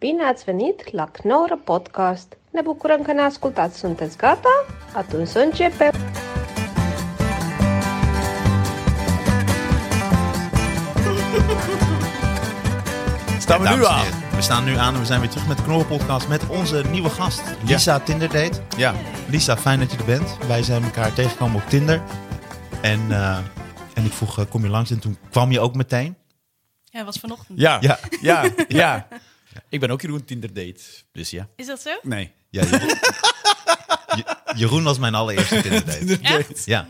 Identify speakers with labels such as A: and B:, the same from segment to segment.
A: Bine ați venit la Knorr Podcast! Ne bucurăm că ne ascultați! Sunteți gata? Atunci să începem!
B: Staan we
C: Dames
B: nu
C: en
B: aan?
C: heren, We staan nu aan en we zijn weer terug met de Knorrenpodcast met onze nieuwe gast, Lisa Tinderdate.
B: Ja.
C: Lisa, fijn dat je er bent. Wij zijn elkaar tegengekomen op Tinder. En, eh, en ik vroeg, eh, kom je langs? En toen kwam je ook meteen.
D: Ja, was vanochtend.
B: Ja.
C: Ja.
B: Ja. ja, ja. Ik ben ook Jeroen Tinder date. Dus ja.
D: Is dat zo?
B: Nee.
C: Ja, Jeroen, Je- Jeroen was mijn allereerste Tinderdate.
D: Echt?
C: Ja.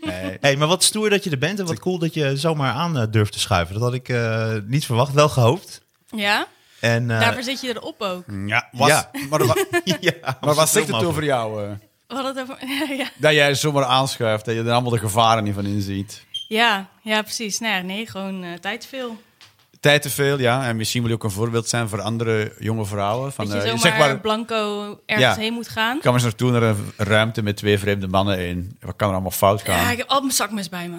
B: Nee.
C: hey, maar wat stoer dat je er bent en wat cool dat je zomaar aan eh, durft te schuiven. Dat had ik eh, niet verwacht, wel gehoopt.
D: Ja?
C: En, eh,
D: Daarvoor zit je erop ook. We
B: Ja, was,
C: Ja.
B: Maar, wa-
C: ja,
B: maar wat
C: was
B: zegt
C: het
B: het over jou? eh?
D: hadden het over... ja.
B: dat jij zomaar aanschuift, dat je er allemaal de gevaren niet van inziet.
D: Ja, ja, precies. Nou ja, nee, gewoon eh, tijd te veel.
B: Tijd te veel, ja. En misschien wil je ook een voorbeeld zijn voor andere jonge vrouwen. Van,
D: dat je
B: eh,
D: zomaar
B: zeg maar,
D: blanco ergens
B: Ja.
D: heen moet gaan.
B: kan we eens naartoe naar een ruimte met twee vreemde mannen in. Wat kan er allemaal fout
D: Ja,
B: gaan?
D: ik heb al mijn zakmes bij me.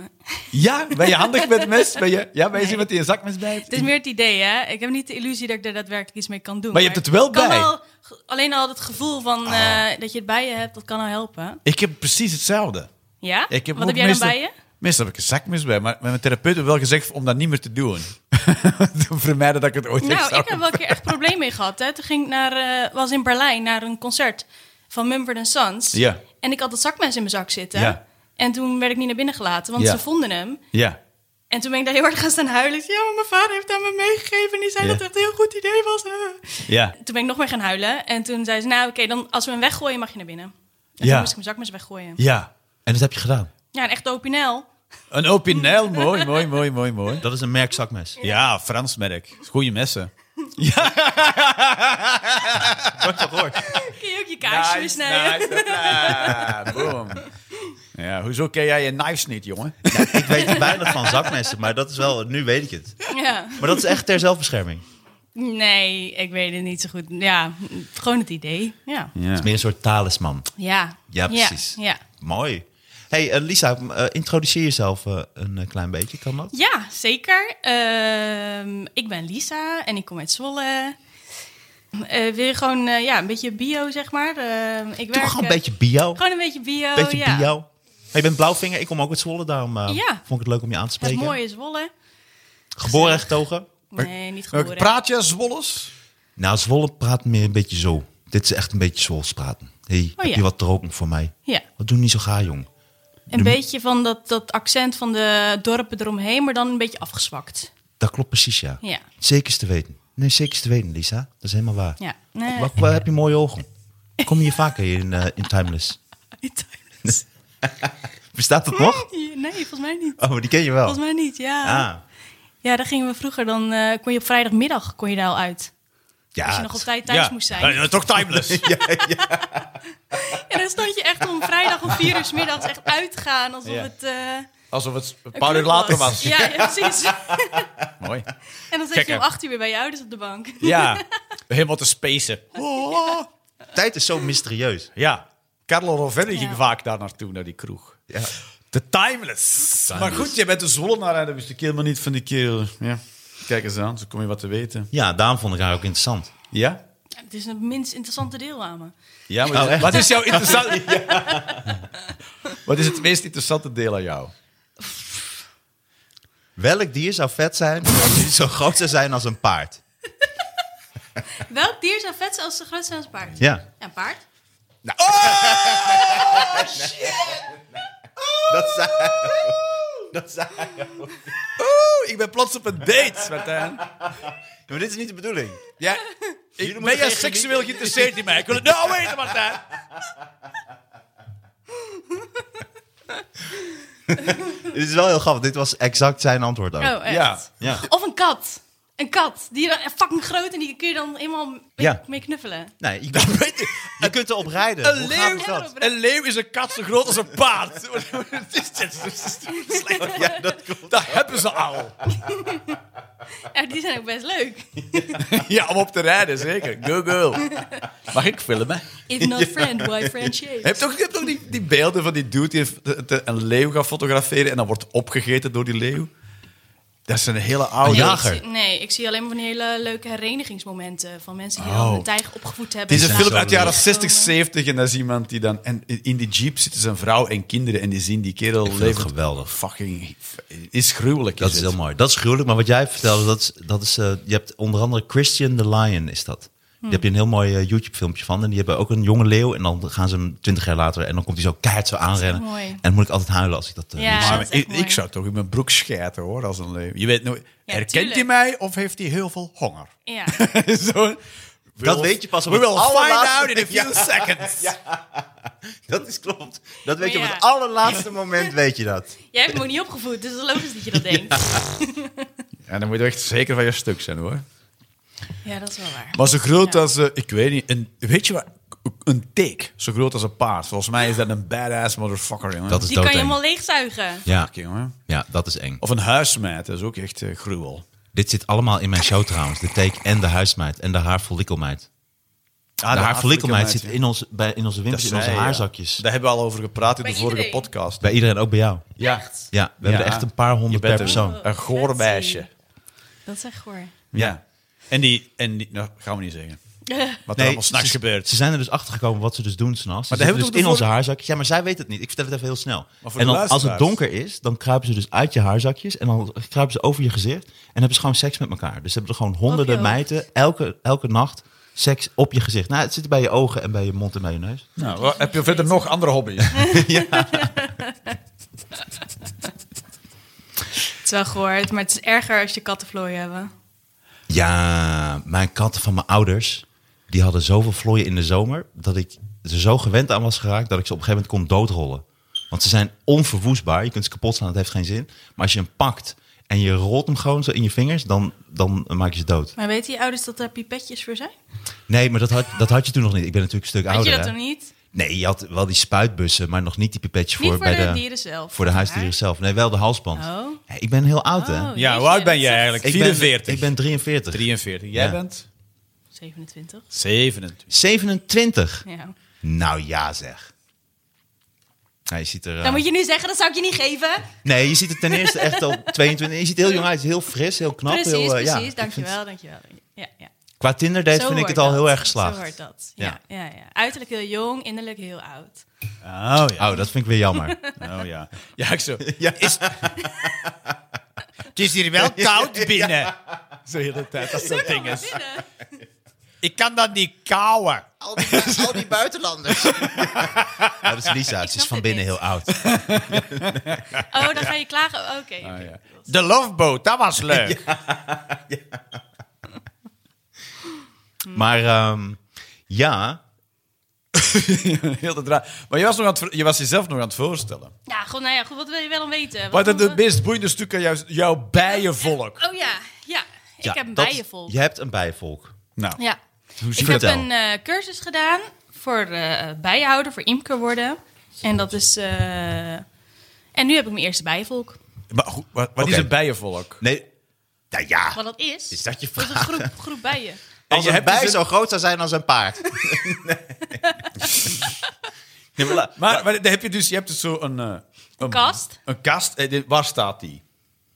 B: Ja, ben je handig met mes? Ben je, ja, ben je iemand die een zakmes bij
D: Het is meer het idee, hè? Ik heb niet de illusie dat ik er daadwerkelijk iets mee kan doen.
B: Maar je hebt het wel
D: ik kan
B: bij. Ah.
D: al- ge- alleen al het gevoel van eh, dat je het bij je hebt, dat kan al helpen.
B: Ik heb precies hetzelfde.
D: Ja?
B: Ik heb
D: Wat
B: ook
D: heb jij dan
B: meestal-
D: bij je?
B: Meestal heb ik een zakmes bij, maar mijn therapeut heeft wel gezegd om dat niet meer te doen. Te vermijden dat ik het ooit echt
D: Nou,
B: zou
D: ik heb wel een keer echt problemen mee gehad. Hè. Toen ging ik naar, eh, was in Berlijn naar een concert van Mumford Sons.
B: Ja.
D: En ik had dat zakmes in mijn zak zitten.
B: Ja.
D: En toen werd ik niet naar binnen gelaten, want
B: Ja.
D: ze vonden hem.
B: Ja.
D: En toen ben ik daar heel hard gaan staan huilen. Ik zei, Ja, maar mijn vader heeft aan me meegegeven. En die zei
B: Ja.
D: dat het echt een heel goed idee was. Eh.
B: Ja.
D: Toen ben ik nog meer gaan huilen. En toen zei ze, nou oké, dan als we hem weggooien mag je naar binnen. En
B: Ja.
D: toen moest ik mijn zakmes weggooien.
B: Ja.
C: En dat heb je gedaan.
D: Ja, een echte opinel.
B: Een opinel, mooi, mooi, mooi, mooi, mooi.
C: Dat is een merkzakmes.
B: Ja, Frans merk. Goeie messen.
D: Kun je ook je kaarsje weer snijden?
B: Ah, boom. Ja, hoezo ken jij je knives niet, jongen?
C: Ik weet er weinig van zakmessen, maar dat is wel, nu weet ik het.
D: Ja.
C: Maar dat is echt ter zelfbescherming. Het
D: Nee, ik weet het niet zo goed. Ja, gewoon het idee. Ja.
B: Ja.
C: is meer een soort talisman.
D: Ja,
C: Ja, precies.
D: Ja, ja.
C: Mooi. hey, eh, Lisa, m- eh, introduceer jezelf eh, een eh, klein beetje, kan dat?
D: Ja, zeker. Ehm, ik ben Lisa en ik kom uit Zwolle. Eh wil je gewoon eh, ja, een beetje bio, zeg maar? Ehm, ik
C: Doe
D: werk,
C: gewoon een
D: eh,
C: beetje bio.
D: Gewoon een beetje bio,
C: beetje
D: ja.
C: bio. Hey, je bent blauwvinger, ik kom ook uit Zwolle, daarom eh,
D: Ja.
C: vond ik het leuk om je aan te
D: Het
C: spreken.
D: mooie is Zwolle.
C: Geboren en getogen?
D: Nee, niet geboren.
B: Praat je Zwolles?
C: Nou, Zwolle praat meer een beetje zo. Dit is echt een beetje Zwolles praten. hey, heb
D: Oh, ja.
C: je wat te roken voor mij?
D: Ja,
C: Wat doen niet zo gaar, jong?
D: een beetje van dat, dat accent van de dorpen eromheen, maar dan een beetje afgezwakt.
C: Dat klopt precies, ja.
D: Ja.
C: Zeker is te weten. Nee, zeker is te weten, Lisa. Dat is helemaal waar.
D: Ja. Nee.
C: Wat, wat heb je mooie ogen? Kom je hier vaker in, eh, in Timeless? Bestaat dat nog?
D: Nee, volgens mij niet.
C: Oh, maar die ken je wel.
D: Volgens mij niet, ja.
C: Ah,
D: Ja, daar gingen we vroeger, dan eh, kon je op vrijdagmiddag kon je daar al uit.
C: Ah, ja.
D: Als je nog op tijd thuis moest zijn.
B: Ja, toch timeless.
D: En dan stond je echt om vrijdag om vier uur 's middags echt uitgaan alsof
B: Ja.
D: het. eh,
B: Alsof het een
D: een
B: paar uur
D: club
B: later was.
D: Ja, ja, precies.
B: Mooi.
D: En dan zat
B: Gekke.
D: je om acht uur weer bij je ouders op de bank.
B: Ja. Helemaal te spacen. Oh.
C: Tijd is zo mysterieus.
B: Ja, Carlo Rovelli
D: Ja.
B: ging vaak daar naartoe, naar die kroeg.
C: Ja.
B: De timeless. Maar goed, je bent een Zwollenaar en dat wist ik helemaal niet van die kerel. Ja. Kijk eens aan, zo kom je wat te weten.
C: Ja, daarom vond ik haar ook interessant.
B: Ja?
D: Ja, Het is het minst interessante deel aan me.
B: Ja, maar
C: Oh, echt?
B: wat is jouw interessante... Wat is het meest interessante deel aan jou?
C: Welk dier zou vet zijn als die zo groot zou zijn als een paard?
D: Welk dier zou vet zijn als ze groot zijn als een paard?
C: Ja.
D: Ja, een paard.
C: Dat zei Dat zei
B: Oeh, ik ben plots op een date, Martijn.
C: Maar dit is niet de bedoeling.
B: Ja, ik ben jij
C: geen
B: seksueel geïnteresseerd in mij? Ik wil het nou weten, Martijn.
C: Dit is wel heel grappig. Dit was exact zijn antwoord ook.
D: Oh, echt.
B: Ja.
C: Ja.
D: Of een kat. Een kat. Die dan fucking groot en die kun je dan helemaal mee,
C: Ja.
D: mee knuffelen.
C: Nee, je, je kunt erop rijden.
B: Een
C: Hoe gaaf
B: leeuw,
C: is dat?
B: een leeuw is een kat zo groot als een paard. Wat is dit?
C: Ja, dat klopt.
B: Dat hebben ze al.
D: Ja, die zijn ook best leuk.
B: Ja, om op te rijden, zeker. Go, go. Mag ik filmen?
D: If not friend, why friend shape?
B: Je hebt ook, je hebt ook die, die beelden van die dude die heeft- de- de- een leeuw gaat fotograferen en dan wordt opgegeten door die leeuw. Dat is een hele oude...
C: Ja.
D: Ik
C: Jager.
D: zie- nee, ik zie alleen maar van die hele leuke herenigingsmomenten van mensen die
B: Oh.
D: dan een tijger opgevoed hebben.
B: Het is
C: Die
B: een
D: Ja.
C: zijn
B: film
C: zo
B: uit de jaren
D: leuk.
B: 60, 70 en dat is iemand die dan... En in- in die jeep zitten zijn vrouw en kinderen en die zien die kerel
C: vind
B: leven.
C: het geweldig.
B: Fucking... Is gruwelijk.
C: Dat is
B: het.
C: heel mooi. Dat is gruwelijk. Maar wat jij vertelde, dat is, dat is, eh, je hebt onder andere Christian the Lion is dat. Daar heb je een heel mooi eh, YouTube-filmpje van. En die hebben ook een jonge leeuw. En dan gaan ze hem twintig jaar later. En dan komt hij zo keihard zo aanrennen.
D: echt mooi.
C: En dan moet ik altijd huilen als ik dat eh,
D: Ja.
C: lees.
B: Maar
D: dat is echt
B: ik,
D: mooi.
B: ik zou toch in mijn broek schijten, hoor, als een leeuw. Je weet nooit...
D: Ja,
B: herkent
D: tuurlijk.
B: hij mij of heeft hij heel veel honger?
D: Ja.
B: Zo,
C: Dat weet je pas op
B: We
C: het
B: will find
C: allerlaatste-
B: out in a few seconds.
C: Dat is klopt. Dat weet
D: Maar
C: je op
D: ja.
C: het allerlaatste moment, weet je dat.
D: Jij hebt me ook niet opgevoed, dus het is logisch dat je dat denkt.
B: En dan moet je echt zeker van je stuk zijn, hoor.
D: Ja, dat is wel waar.
B: Maar zo groot als, eh, ik weet niet, een, weet je wat, een teek. Zo groot als een paard. Volgens mij is dat een badass motherfucker, jongen.
C: Dat is
D: Die kan je
C: doodeng.
D: helemaal leegzuigen.
C: Ja.
B: Fuck, jongen.
C: ja, dat is eng.
B: Of een huismeid, dat is ook echt eh, gruwel.
C: Dit zit allemaal in mijn show trouwens. De take en de huismeid en de haarfollikelmeid. Ah, de haarfollikelmeid zit in, ons, bij, in onze
B: Dat
C: wimpers, in
B: zei
C: onze
B: je, ja.
C: haarzakjes.
B: Daar hebben we al over gepraat in
D: Bij
B: de vorige
D: iedereen.
B: podcast.
C: Bij iedereen, ook bij jou.
B: Ja.
C: Ja, we hebben echt een paar honderd
B: Je bent
C: per persoon.
B: Een goor meisje.
D: Dat is echt hoor.
B: Ja. En die, en die, nou, gaan we niet zeggen. Wat er allemaal s'nachts
C: ze,
B: gebeurt.
C: Ze zijn er dus achter gekomen wat ze dus doen s'nachts. Maar
B: Maar daar
C: hebben
B: hebben we
C: dus
B: toch
C: in
B: de
C: onze
B: vorige-
C: haarzakjes. Ja, maar zij weet het niet. Ik vertel het even heel snel.
B: Maar voor
C: En
B: de
C: dan, als het
B: luisteraars.
C: donker is, dan kruipen ze dus uit je haarzakjes. En dan kruipen ze over je gezicht. En hebben ze gewoon seks met elkaar. Dus ze hebben er gewoon honderden
D: Op je hoofd.
C: meiden elke, elke nacht seks op je gezicht. Nou, het zit bij je ogen en bij je mond en bij je neus.
B: Nou, wat- heb je verder nog andere hobby's?
D: Het is wel gehoord, maar het is erger als je kattenvlooien hebben.
C: Ja, mijn katten van mijn ouders, die hadden zoveel vlooien in de zomer... dat ik ze zo gewend aan was geraakt dat ik ze op een gegeven moment kon doodrollen. Want ze zijn onverwoestbaar. Je kunt ze kapot slaan, dat heeft geen zin. Maar als je hem pakt en je rolt hem gewoon zo in je vingers... dan, dan maak je ze dood.
D: Maar weten je ouders dat daar pipetjes voor zijn?
C: Nee, maar dat had, dat had je toen nog niet. Ik ben natuurlijk een stuk
D: Weet je
C: ouder.
D: dat
C: hè?
D: nog niet?
C: Nee, je had wel die spuitbussen, maar nog niet die pipetjes voor,
D: Niet voor
C: bij
D: de dieren zelf,
C: Voor de
D: maar-
C: huisdieren zelf. Nee, wel de halsband.
D: Oh.
C: Hey, ik ben heel oud, hè?
D: Oh,
B: Ja, hoe
D: jeetje,
B: oud ben
D: dat
B: jij
D: is-
B: eigenlijk?
C: Ik ben-
B: 44.
C: ik ben 43.
B: 43. Jij
C: Ja.
B: bent?
D: 27.
B: 27.
C: 27.
D: Ja.
C: Nou ja, zeg. Ja, je ziet er, eh,
D: Dan moet je nu zeggen, dat zou ik je niet geven.
C: Nee, je ziet er ten eerste echt al 22. Je ziet er heel jong uit, heel fris, heel knap.
D: precies,
C: heel, eh,
D: precies.
C: ja, ik
D: dankjewel,
C: vind-
D: dankjewel. dankjewel. Ja, ja.
C: qua Tinder-date
D: Zo
C: vind ik
D: hoort
C: het al
D: dat.
C: heel erg
D: Zo hoort
C: geslaagd.
D: dat. Ja. Ja, ja, Uiterlijk heel jong, innerlijk heel oud.
B: Oh ja.
C: Oh, dat vind ik weer jammer.
B: Oh ja. Ja, ik zo. Is... Het is hier wel koud binnen. Zo de hele tijd, dat soort dingen.
D: Binnen.
B: Ik kan dat niet kauwen.
C: al, die, buitenlanders. Nou, dat is Lisa, ze is
D: snap
C: van
D: het
C: binnen
D: niet.
C: heel oud.
D: Oh, dan ga je klagen. Oh, Oké. oké.
B: ja. De loveboat, dat was leuk.
D: Hmm.
C: Maar ehm, ja,
B: Heel de draai. Maar je was, nog aan het, ver- je was jezelf nog aan het voorstellen.
D: Ja, goed, nou ja, goed, wat wil je wel dan weten?
B: Wat is
D: dan-
B: het meest boeiende stuk aan jou, jouw bijenvolk?
D: Oh ja, ja. Ik
C: ja,
D: heb een
C: dat-
D: bijenvolk.
C: Je hebt een bijenvolk.
B: Nou,
D: Ja.
C: Hoe
D: Ik
C: ziet
D: heb
C: het
D: een eh, cursus gedaan voor eh, bijenhouder, voor imker worden. En dat is... eh, En nu heb ik mijn eerste bijenvolk.
B: maar goed, wat, wat is
C: Oké.
B: een bijenvolk?
C: Nee, nou ja.
D: Wat dat is,
C: Is dat je
D: dat is een
C: vraag?
D: groep, groep bijen.
B: En
C: Als
B: je
C: een
B: hebt
C: bij
B: dus een-
C: zo groot zou zijn als een paard. nee. maar la-
B: Maar, maar dan heb je dus, je hebt dus zo een... eh, een
D: Kast.
B: Een kast. Eh, dit- Waar staat die?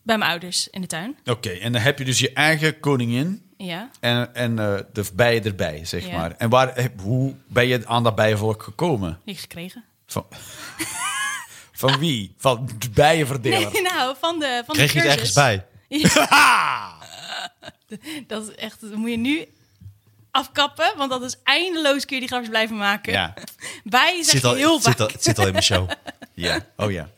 D: Bij mijn ouders in de tuin.
B: Oké, en dan heb je dus je eigen koningin.
D: Ja.
B: En, en eh, de bijen erbij, zeg
D: Ja.
B: maar. En waar, heb- hoe ben je aan dat bijenvolk gekomen?
D: Die gekregen.
B: Van, van wie? Van de bijenverdeler.
D: Nee, nou, van de van
C: Kreeg
D: de
C: je het ergens
D: cursus.
C: bij?
D: Dat is echt, dat moet je nu afkappen, want dat is eindeloos kun je die grapjes blijven maken.
B: Ja.
D: Bijen
C: Het
D: zeg
C: zit,
D: je
C: al,
D: heel
C: het,
D: vaak.
C: zit al, het zit al in mijn show.
B: Ja. Oh ja.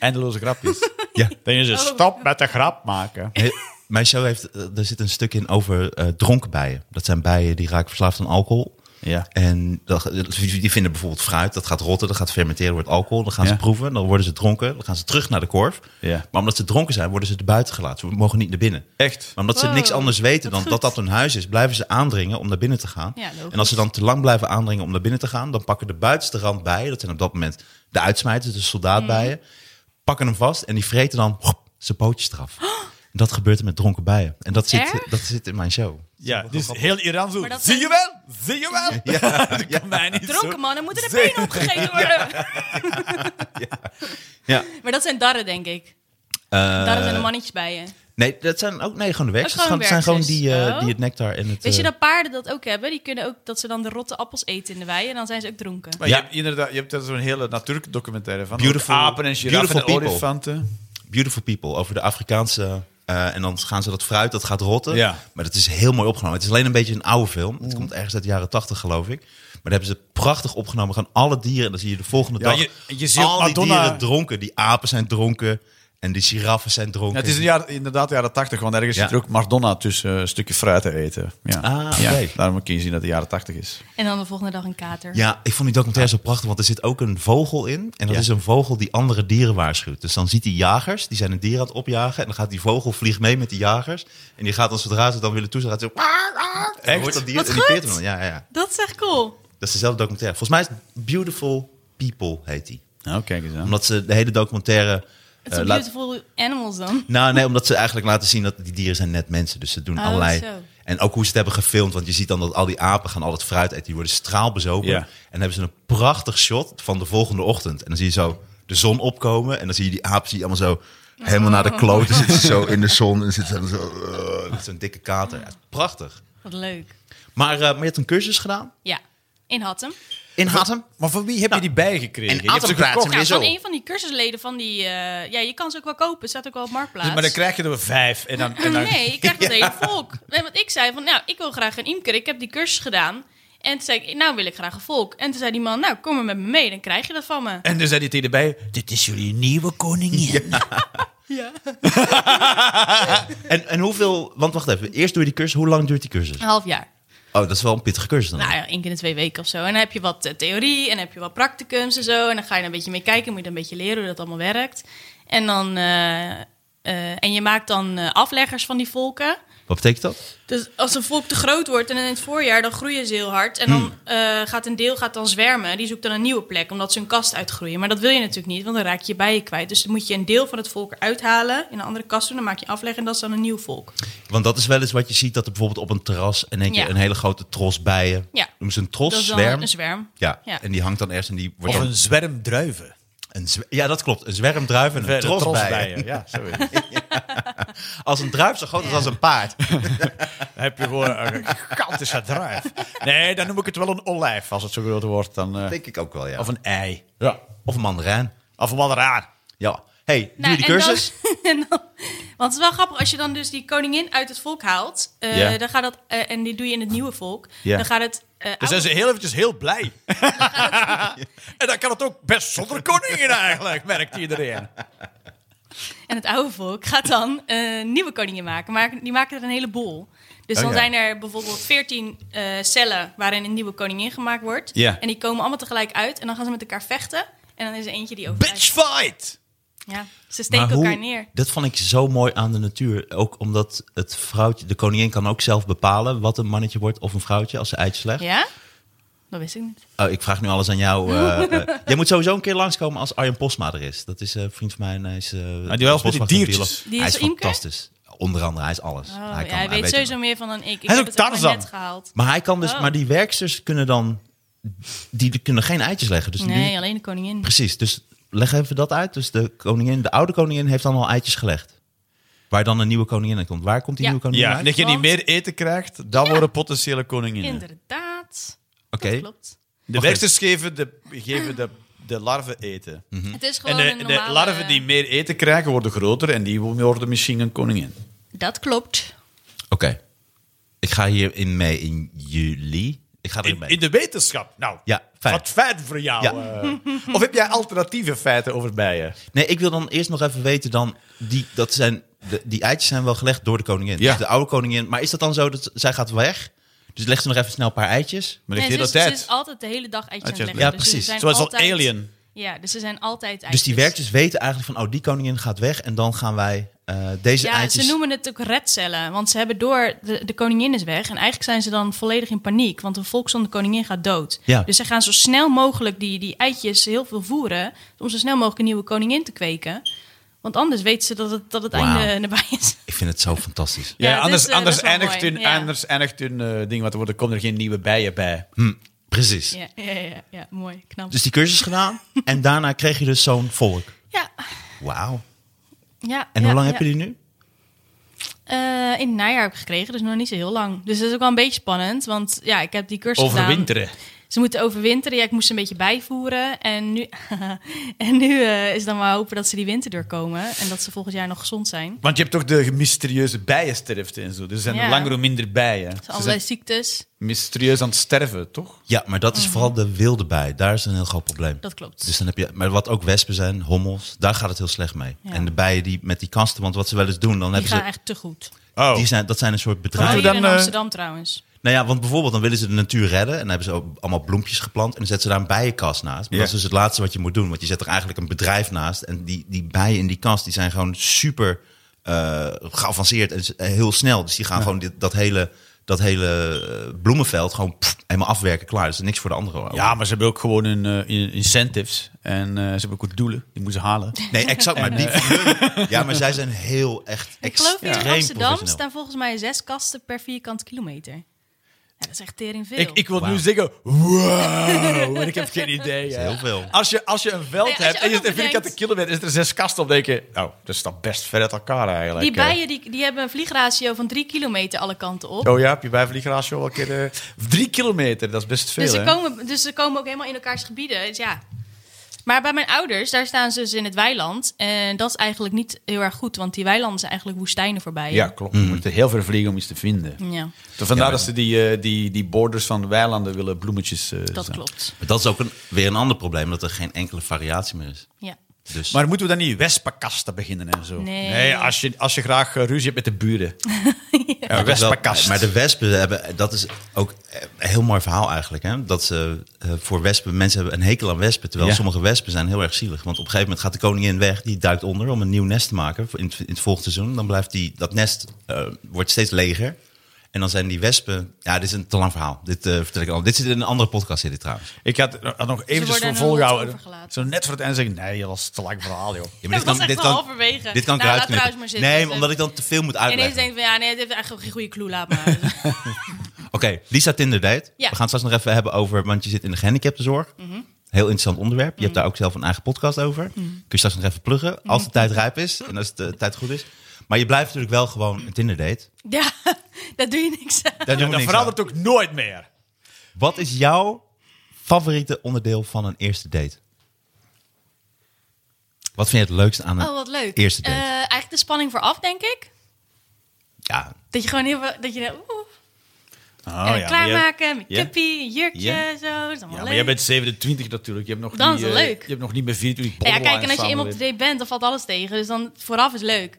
B: Eindeloze grapjes.
C: Ja.
B: Dan is het
D: Oh.
B: stop Dus met de grap maken.
C: He- Mijn show heeft, eh, er zit een stuk in over eh, dronken bijen. Dat zijn bijen die raken verslaafd aan alcohol.
B: Ja.
C: En dat- die vinden bijvoorbeeld fruit, dat gaat rotten, dat gaat fermenteren, wordt alcohol. Dan gaan ze
B: Ja.
C: proeven, dan worden ze dronken, dan gaan ze terug naar de korf.
B: Ja.
C: Maar omdat ze dronken zijn, worden ze er buiten gelaten. Ze mogen niet naar binnen.
B: Echt?
C: Maar omdat ze
D: Wow,
C: niks anders weten
D: wat
C: dan
D: goed.
C: dat dat hun huis is, blijven ze aandringen om naar binnen te gaan.
D: Ja, logisch.
C: en als ze dan te lang blijven aandringen om naar binnen te gaan, dan pakken de buitenste rand bijen, dat zijn op dat moment de uitsmijters, de
D: Mm.
C: soldaatbijen, pakken hem vast en die vreten dan hop, zijn pootjes eraf. En Dat gebeurt er met dronken bijen. En dat zit,
D: Echt?
C: dat zit in mijn show.
B: Ja, dus heel Iran zo.
D: Maar dat
B: Zie
D: zijn-
B: je wel? Zie je wel? Ja. Dat kan mij niet
D: Dronken
B: zo.
D: mannen moeten de benen opgegeten worden.
C: Ja.
D: Maar dat zijn darren, denk ik.
C: Eh,
D: Darren zijn de mannetjes bijen.
C: Nee, dat zijn ook nee, gewoon de werksters.
D: Oh, gewoon
C: Het zijn gewoon die,
D: werksters.
C: eh,
D: Oh.
C: die het nectar en het...
D: Weet je
C: eh,
D: dat paarden dat ook hebben? Die kunnen ook dat ze dan de rotte appels eten in de wei en dan zijn ze ook dronken.
B: Maar
C: Ja.
B: je hebt inderdaad, je hebt daar zo'n hele natuurdocumentaire van.
C: Beautiful-
B: Beautiful, apen en giraffen en
C: beautiful people.
B: olifanten.
C: Beautiful People over de Afrikaanse... eh, en dan gaan ze dat fruit, dat gaat rotten.
B: Ja.
C: Maar dat is heel mooi opgenomen. Het is alleen een beetje een oude film. Het komt ergens uit de jaren tachtig, geloof ik. Maar daar hebben ze het prachtig opgenomen. Gaan alle dieren, en dan zie je de volgende
B: Ja,
C: dag...
B: je- je ziet
C: al die
B: Madonna-
C: dieren dronken. Die apen zijn dronken. En die giraffen zijn dronken.
B: Ja, het is een jaar, inderdaad de jaren tachtig, want ergens
C: Ja.
B: zit er ook Madonna tussen eh, stukken fruit te eten. Ja.
C: Ah,
B: ja,
C: oké.
B: daarom kun je zien dat het jaren tachtig is.
D: En dan de volgende dag een kater.
C: Ja, ik vond die documentaire zo prachtig, want er zit ook een vogel in. En dat
B: Ja.
C: is een vogel die andere dieren waarschuwt. Dus dan ziet die jagers, die zijn een dier aan het opjagen. En dan gaat die vogel vliegt mee met die jagers. En die gaat dan, zodra ze dan willen toezien, gaat ze... zo- En dan
B: Echt?
C: hoort dat dier
D: Wat
C: en die peert
D: goed.
C: hem dan. Ja, ja, ja.
D: Dat is echt cool.
C: Dat is dezelfde documentaire. Volgens mij is het Beautiful People, heet die.
B: Nou, kijk eens aan.
C: Omdat ze de hele documentaire...
D: Het
C: eh,
D: zijn
C: laat-
D: beautiful animals dan.
C: nou, nee, omdat ze eigenlijk laten zien dat die dieren zijn net mensen. Dus ze doen
D: Oh,
C: allerlei...
D: zo.
C: En ook hoe ze het hebben gefilmd. Want je ziet dan dat al die apen gaan al het fruit eten. Die worden straalbezopen.
B: Ja.
C: En dan hebben ze een prachtig shot van de volgende ochtend. En dan zie je zo de zon opkomen. En dan zie je die apen zie je allemaal zo helemaal
D: Oh.
C: naar de kloten. Zitten ze zo in de zon. En zitten ze dan zo... eh, met zo'n dikke kater. Ja, prachtig.
D: Wat leuk.
C: Maar, eh, maar je hebt een cursus gedaan
D: Ja, in Hattem.
C: in Hattem.
B: Maar van wie heb je die bijgekregen?
C: en
B: Je hebt ze
C: Atempraat
B: gekocht.
C: zijn
D: Ja,
C: Wieso?
D: van een van die cursusleden van die... eh, ja, je kan ze ook wel kopen. Het staat ook wel op Marktplaats.
B: Dus, maar dan krijg je er vijf. En dan, en nou- dan,
D: Nee, ik krijg dat hele volk. Nee, want ik zei van, nou, ik wil graag een imker. Ik heb die cursus gedaan. En toen zei ik, nou wil ik graag een volk. En toen zei die man, nou, kom maar met me mee. Dan krijg je dat van me.
B: en dan zei die tegen erbij, dit is jullie nieuwe koningin.
D: Ja.
C: En, en hoeveel... Want wacht even. Eerst doe je die cursus. Hoe lang duurt die cursus?
D: Een half jaar.
C: Oh, dat is wel een pittige cursus dan.
D: Nou ja, één keer in de twee weken of zo. En dan heb je wat eh, theorie en heb je wat practicums en zo. En dan ga je er een beetje mee kijken. Moet je dan een beetje leren hoe dat allemaal werkt. En dan... eh, eh, en je maakt dan eh, afleggers van die volken.
C: Wat betekent dat?
D: Dus als een volk te groot wordt en in het voorjaar, dan groeien ze heel hard. En dan
C: Hmm.
D: eh, gaat een deel gaat dan zwermen. Die zoekt dan een nieuwe plek, omdat ze hun kast uitgroeien. Maar dat wil je natuurlijk niet, want dan raak je je bijen kwijt. Dus dan moet je een deel van het volk eruit halen, in een andere kast doen. Dan maak je afleg en dat is dan een nieuw volk.
C: Want dat is wel eens wat je ziet, dat er bijvoorbeeld op een terras... in één keer
D: Ja.
C: een hele grote tros bijen...
D: Ja.
C: Noemen ze een
D: dat
C: tros,
D: is dan
C: zwerm?
D: een zwerm.
C: ja.
D: Ja.
C: en die hangt dan ergens en die wordt
B: Of
C: dan
B: een zwerm druiven.
C: een zwe- ja, dat klopt. Een zwermdruif en een
B: Een
C: tros, bijen.
B: trosbijen, Ja, zo is het.
C: Als een druif zo groot is als een paard.
B: Dan heb je gewoon een gigantische druif. Nee, dan noem ik het wel een olijf, als het zo groot wordt. Dan, eh,
C: denk ik ook wel, ja.
B: Of
C: Of
B: een ei.
C: ja. of een mandarijn.
B: Of een maderaar.
C: Ja. hey, doe
D: Nou,
C: je die
D: en
C: cursus?
D: Dan, en dan- want het is wel grappig, als je dan dus die koningin uit het volk haalt, eh,
B: Ja.
D: dan gaat dat, eh, en die doe je in het nieuwe volk,
B: Ja.
D: dan gaat het...
C: Dus
D: eh,
B: Dan zijn ze heel eventjes heel blij. en dan kan het ook best zonder koningin eigenlijk, merkt iedereen.
D: En het oude volk gaat dan eh, nieuwe koningen maken. Maar die maken er een heleboel. Dus
B: Oh,
D: dan
B: ja.
D: zijn er bijvoorbeeld veertien eh, cellen waarin een nieuwe koningin gemaakt wordt.
B: Ja.
D: En die komen allemaal tegelijk uit. En dan gaan ze met elkaar vechten. En dan is er eentje die overlijdt.
B: Bitch fight!
D: Ja, ze steken
C: Maar hoe-
D: elkaar neer.
C: Dat vond ik zo mooi aan de natuur. Ook omdat het vrouwtje, de koningin kan ook zelf bepalen wat een mannetje wordt of een vrouwtje als ze eitjes legt.
D: Ja? Dat wist ik niet.
C: Oh, ik vraag nu alles aan jou. eh, eh. jij moet sowieso een keer langskomen als Arjen Posma er is. Dat is eh, een vriend van mij. En hij is, eh,
B: Ah, die wel eens met die
C: boswachter en
B: diertjes.
C: bioloog.
D: Die
C: hij
D: is
C: is
D: imker?
C: fantastisch. Onder andere, hij is alles.
D: Oh,
C: hij,
D: ja, hij weet
C: het
D: sowieso
C: wel.
D: meer van dan ik. Ik
B: Hij is
D: heb
B: ook
D: het ook maar
B: Tarzan.
D: net gehaald.
C: Maar, hij kan dus,
D: Oh.
C: maar die werksters kunnen dan... Die kunnen geen eitjes leggen. Dus die,
D: Nee, alleen de koningin.
C: precies. Dus leg even dat uit. Dus de, koningin, de oude koningin heeft dan al eitjes gelegd. Waar dan een nieuwe koningin aan komt. Waar komt die
D: Ja.
C: nieuwe koningin
B: Ja, en
C: uit?
B: dat je niet
D: Want-
B: meer eten krijgt, dan worden potentiële koninginnen.
D: Inderdaad.
C: Oké.
D: Dat klopt.
B: De werksters geven de, geven de, de larven eten.
D: Het is
B: En
D: gewoon
B: de,
D: een
B: de
D: Oh, normale...
B: larven die meer eten krijgen, worden groter en die worden misschien een koningin.
D: Dat klopt.
C: Oké. Ik ga hierin mee in juli. Ik ga erin
B: In,
C: mee.
B: in de wetenschap. Nou,
C: Ja, fijn.
B: wat fijn voor jou.
C: Ja.
B: eh. Of heb jij alternatieve feiten over bijen?
C: Nee, ik wil dan eerst nog even weten dan die dat zijn de, die eitjes zijn wel gelegd door de koningin.
B: Ja.
C: Dus de oude koningin. Maar is dat dan zo dat z- zij gaat weg? Dus legt ze nog even snel een paar eitjes?
B: Maar
D: Nee, dus-
B: ligt
D: ze,
B: heel
D: is,
B: de
D: ze
B: tijd.
D: is altijd de hele dag eitjes aan het
B: Eitjes,
D: leggen.
C: ja,
D: Dus ze
C: precies.
D: zijn
B: Zoals dat
D: altijd-
B: Alien.
D: Ja, dus ze zijn altijd eitjes.
C: Dus die werkers weten eigenlijk van oh die koningin gaat weg en dan gaan wij eh, deze
D: Ja,
C: eitjes.
D: ze noemen het ook redcellen. Want ze hebben door, de, de koningin is weg. En eigenlijk zijn ze dan volledig in paniek. Want een volk zonder koningin gaat dood.
C: Ja.
D: Dus ze gaan zo snel mogelijk die, die eitjes heel veel voeren. Om zo snel mogelijk een nieuwe koningin te kweken. Want anders weten ze dat het, dat het
C: Wauw.
D: einde nabij is.
C: Ik vind het zo fantastisch.
B: Ja,
D: Ja, dus,
B: anders,
D: eh, dat
B: anders,
D: is wel
B: eindigt
D: mooi.
B: hun,
D: Ja.
B: anders eindigt hun eh, ding, want er worden, komen er geen nieuwe bijen bij.
C: Hm, precies.
D: Ja, ja, ja, ja, ja, mooi, knap.
C: Dus die cursus gedaan en daarna kreeg je dus zo'n volk.
D: ja,
C: Wauw.
D: ja,
C: En
D: ja,
C: hoe lang
D: ja.
C: heb je die nu?
D: eh, in het najaar heb ik gekregen, dus nog niet zo heel lang. Dus dat is ook wel een beetje spannend, want ja, ik heb die cursus gedaan.
B: Overwinteren.
D: Ze moeten overwinteren. Ja, ik moest ze een beetje bijvoeren. En nu, en nu eh, is dan maar hopen dat ze die winter doorkomen. En dat ze volgend jaar nog gezond zijn.
B: Want je hebt toch de mysterieuze bijensterfte en zo. Dus Er zijn
D: Ja.
B: langer hoe minder bijen.
D: Dus
B: Ze
D: allerlei
B: zijn
D: ziektes.
B: mysterieus aan het sterven, toch?
C: Ja, maar dat is vooral de wilde bij. Daar is een heel groot probleem.
D: Mhm. Dat klopt.
C: Dus dan heb je, maar wat ook wespen zijn, hommels, daar gaat het heel slecht mee.
D: Ja.
C: En de bijen die met die kasten, want wat ze wel eens doen, dan
D: Die
C: hebben
D: gaan
C: ze.
D: echt te goed.
B: Oh.
C: Die zijn, dat zijn een soort
D: Vooral
C: bedrijven.
B: we
D: hier in
B: dan, eh,
D: Amsterdam trouwens.
C: Nou ja, want bijvoorbeeld dan willen ze de natuur redden. En dan hebben ze ook allemaal bloempjes geplant. En dan zetten ze daar een bijenkast naast. Maar
B: Ja.
C: dat is dus het laatste wat je moet doen. Want je zet er eigenlijk een bedrijf naast. En die, die bijen in die kast, die zijn gewoon super eh, geavanceerd en s- en heel snel. Dus die gaan gewoon dit, dat hele, dat hele eh, bloemenveld gewoon pff, helemaal afwerken. Klaar. Dus er is niks voor de anderen over.
B: Ja, maar ze hebben ook gewoon hun eh, incentives. En eh, ze hebben ook wat doelen. Die moeten ze halen.
C: Nee, exact. Maar die Ja, maar zij zijn heel echt
D: Ik geloof hier
C: extreem
D: in Amsterdam
C: professioneel.
D: staan volgens mij zes kasten per vierkante kilometer. Ja, dat is echt tering veel.
B: Ik, ik wil
C: Wauw.
B: nu zeggen, wow, maar ik heb geen idee.
C: is
B: hè.
C: heel veel.
B: Als je, als je een veld
D: Nee, als je
B: hebt en
D: ook
B: je
D: nog
B: zit een vierkante
D: bedenkt-
B: kilometer, is er zes kasten op, denk je, nou, dat staat best ver uit elkaar eigenlijk.
D: die
B: hè.
D: bijen die, die hebben een vliegratio van drie kilometer alle kanten op.
B: Oh ja, heb je bijvliegratio wel een keer... eh, drie kilometer, dat is best veel,
D: Dus ze,
B: hè?
D: komen, dus ze komen ook helemaal in elkaars gebieden. Dus ja. Maar bij mijn ouders, daar staan ze dus in het weiland. En dat is eigenlijk niet heel erg goed, want die weilanden zijn eigenlijk woestijnen voorbij.
B: Ja, klopt. Je moet er heel veel vliegen om iets te vinden. Dus
D: Ja,
B: Vandaar dat ze die, eh, die, die borders van de weilanden willen bloemetjes... eh,
D: dat
B: zijn.
D: klopt.
C: Maar dat is ook een, weer een ander probleem, dat er geen enkele variatie meer is.
D: Ja.
C: Dus
B: Maar moeten we dan niet wespenkasten beginnen en zo?
D: Nee.
B: als, je, als je graag eh, ruzie hebt met de buren. ja.
C: Maar dat wel-
B: wespenkast.
C: Maar de wespen hebben, dat is ook eh, een heel mooi verhaal eigenlijk. Hè? Dat ze eh, voor wespen, mensen hebben een hekel aan wespen. Terwijl
B: Ja.
C: sommige wespen zijn heel erg zielig. Want op een gegeven moment gaat de koningin weg, die duikt onder om een nieuw nest te maken voor in, het- in het volgende seizoen. Dan blijft die, dat nest eh, wordt steeds leger. En dan zijn die wespen. Ja, dit is een te lang verhaal. Dit eh, vertel ik al. Dit zit in een andere podcast, zit dit trouwens.
B: Ik had, eh, had nog eventjes voor
D: worden aan hun lot
B: volgehouden.
D: overgelaten.
B: Zo net voor het eind zeg ik, nee, dat is te lang verhaal, joh.
C: Ja,
D: maar dit was echt wel halverwege.
C: Dit kan ik
D: Nou,
C: eruit
D: laat
C: knippen.
D: trouwens maar zitten.
C: Nee,
D: Dus,
C: omdat
D: eh,
C: ik dan te veel moet
D: En ineens
C: uitleggen.
D: denk ik van ja, nee, het heeft eigenlijk geen goede clue, laat maar.
C: Oké, Lisa Tinder date.
D: Ja. Mhm.
C: We gaan het straks nog even hebben over, want je zit in de gehandicaptenzorg. Heel interessant onderwerp. Je hebt daar ook zelf een eigen podcast over. Kun je straks nog even pluggen,
D: Mhm.
C: als de tijd rijp is en als de tijd goed is. Maar je blijft natuurlijk wel gewoon een Tinder date.
D: ja, daar doe je niks
B: Nou,
D: aan.
C: Daar doen we
B: Dat
C: niks aan.
B: verandert ook nooit meer.
C: Wat is jouw favoriete onderdeel van een eerste date? Wat vind je het leukste aan een
D: Oh, wat leuk.
C: eerste date?
D: Eh, eigenlijk de spanning vooraf, denk ik.
C: ja,
D: Dat je gewoon heel veel- dat je denkt, oeh,
B: Oh,
D: en Eh, klaarmaken, met
B: ja.
D: kippie, een jurkje,
B: Ja.
D: zo. Dat is allemaal
B: Ja, maar
D: leuk.
B: jij bent 27 natuurlijk. Je hebt nog
D: Dan
B: niet,
D: is het
B: eh,
D: leuk.
B: Je hebt nog niet meer 24
D: Nou ja,
B: borderline
D: kijk, en als je eenmaal op de
B: samenleving.
D: date bent, dan valt alles tegen. Dus dan vooraf is leuk.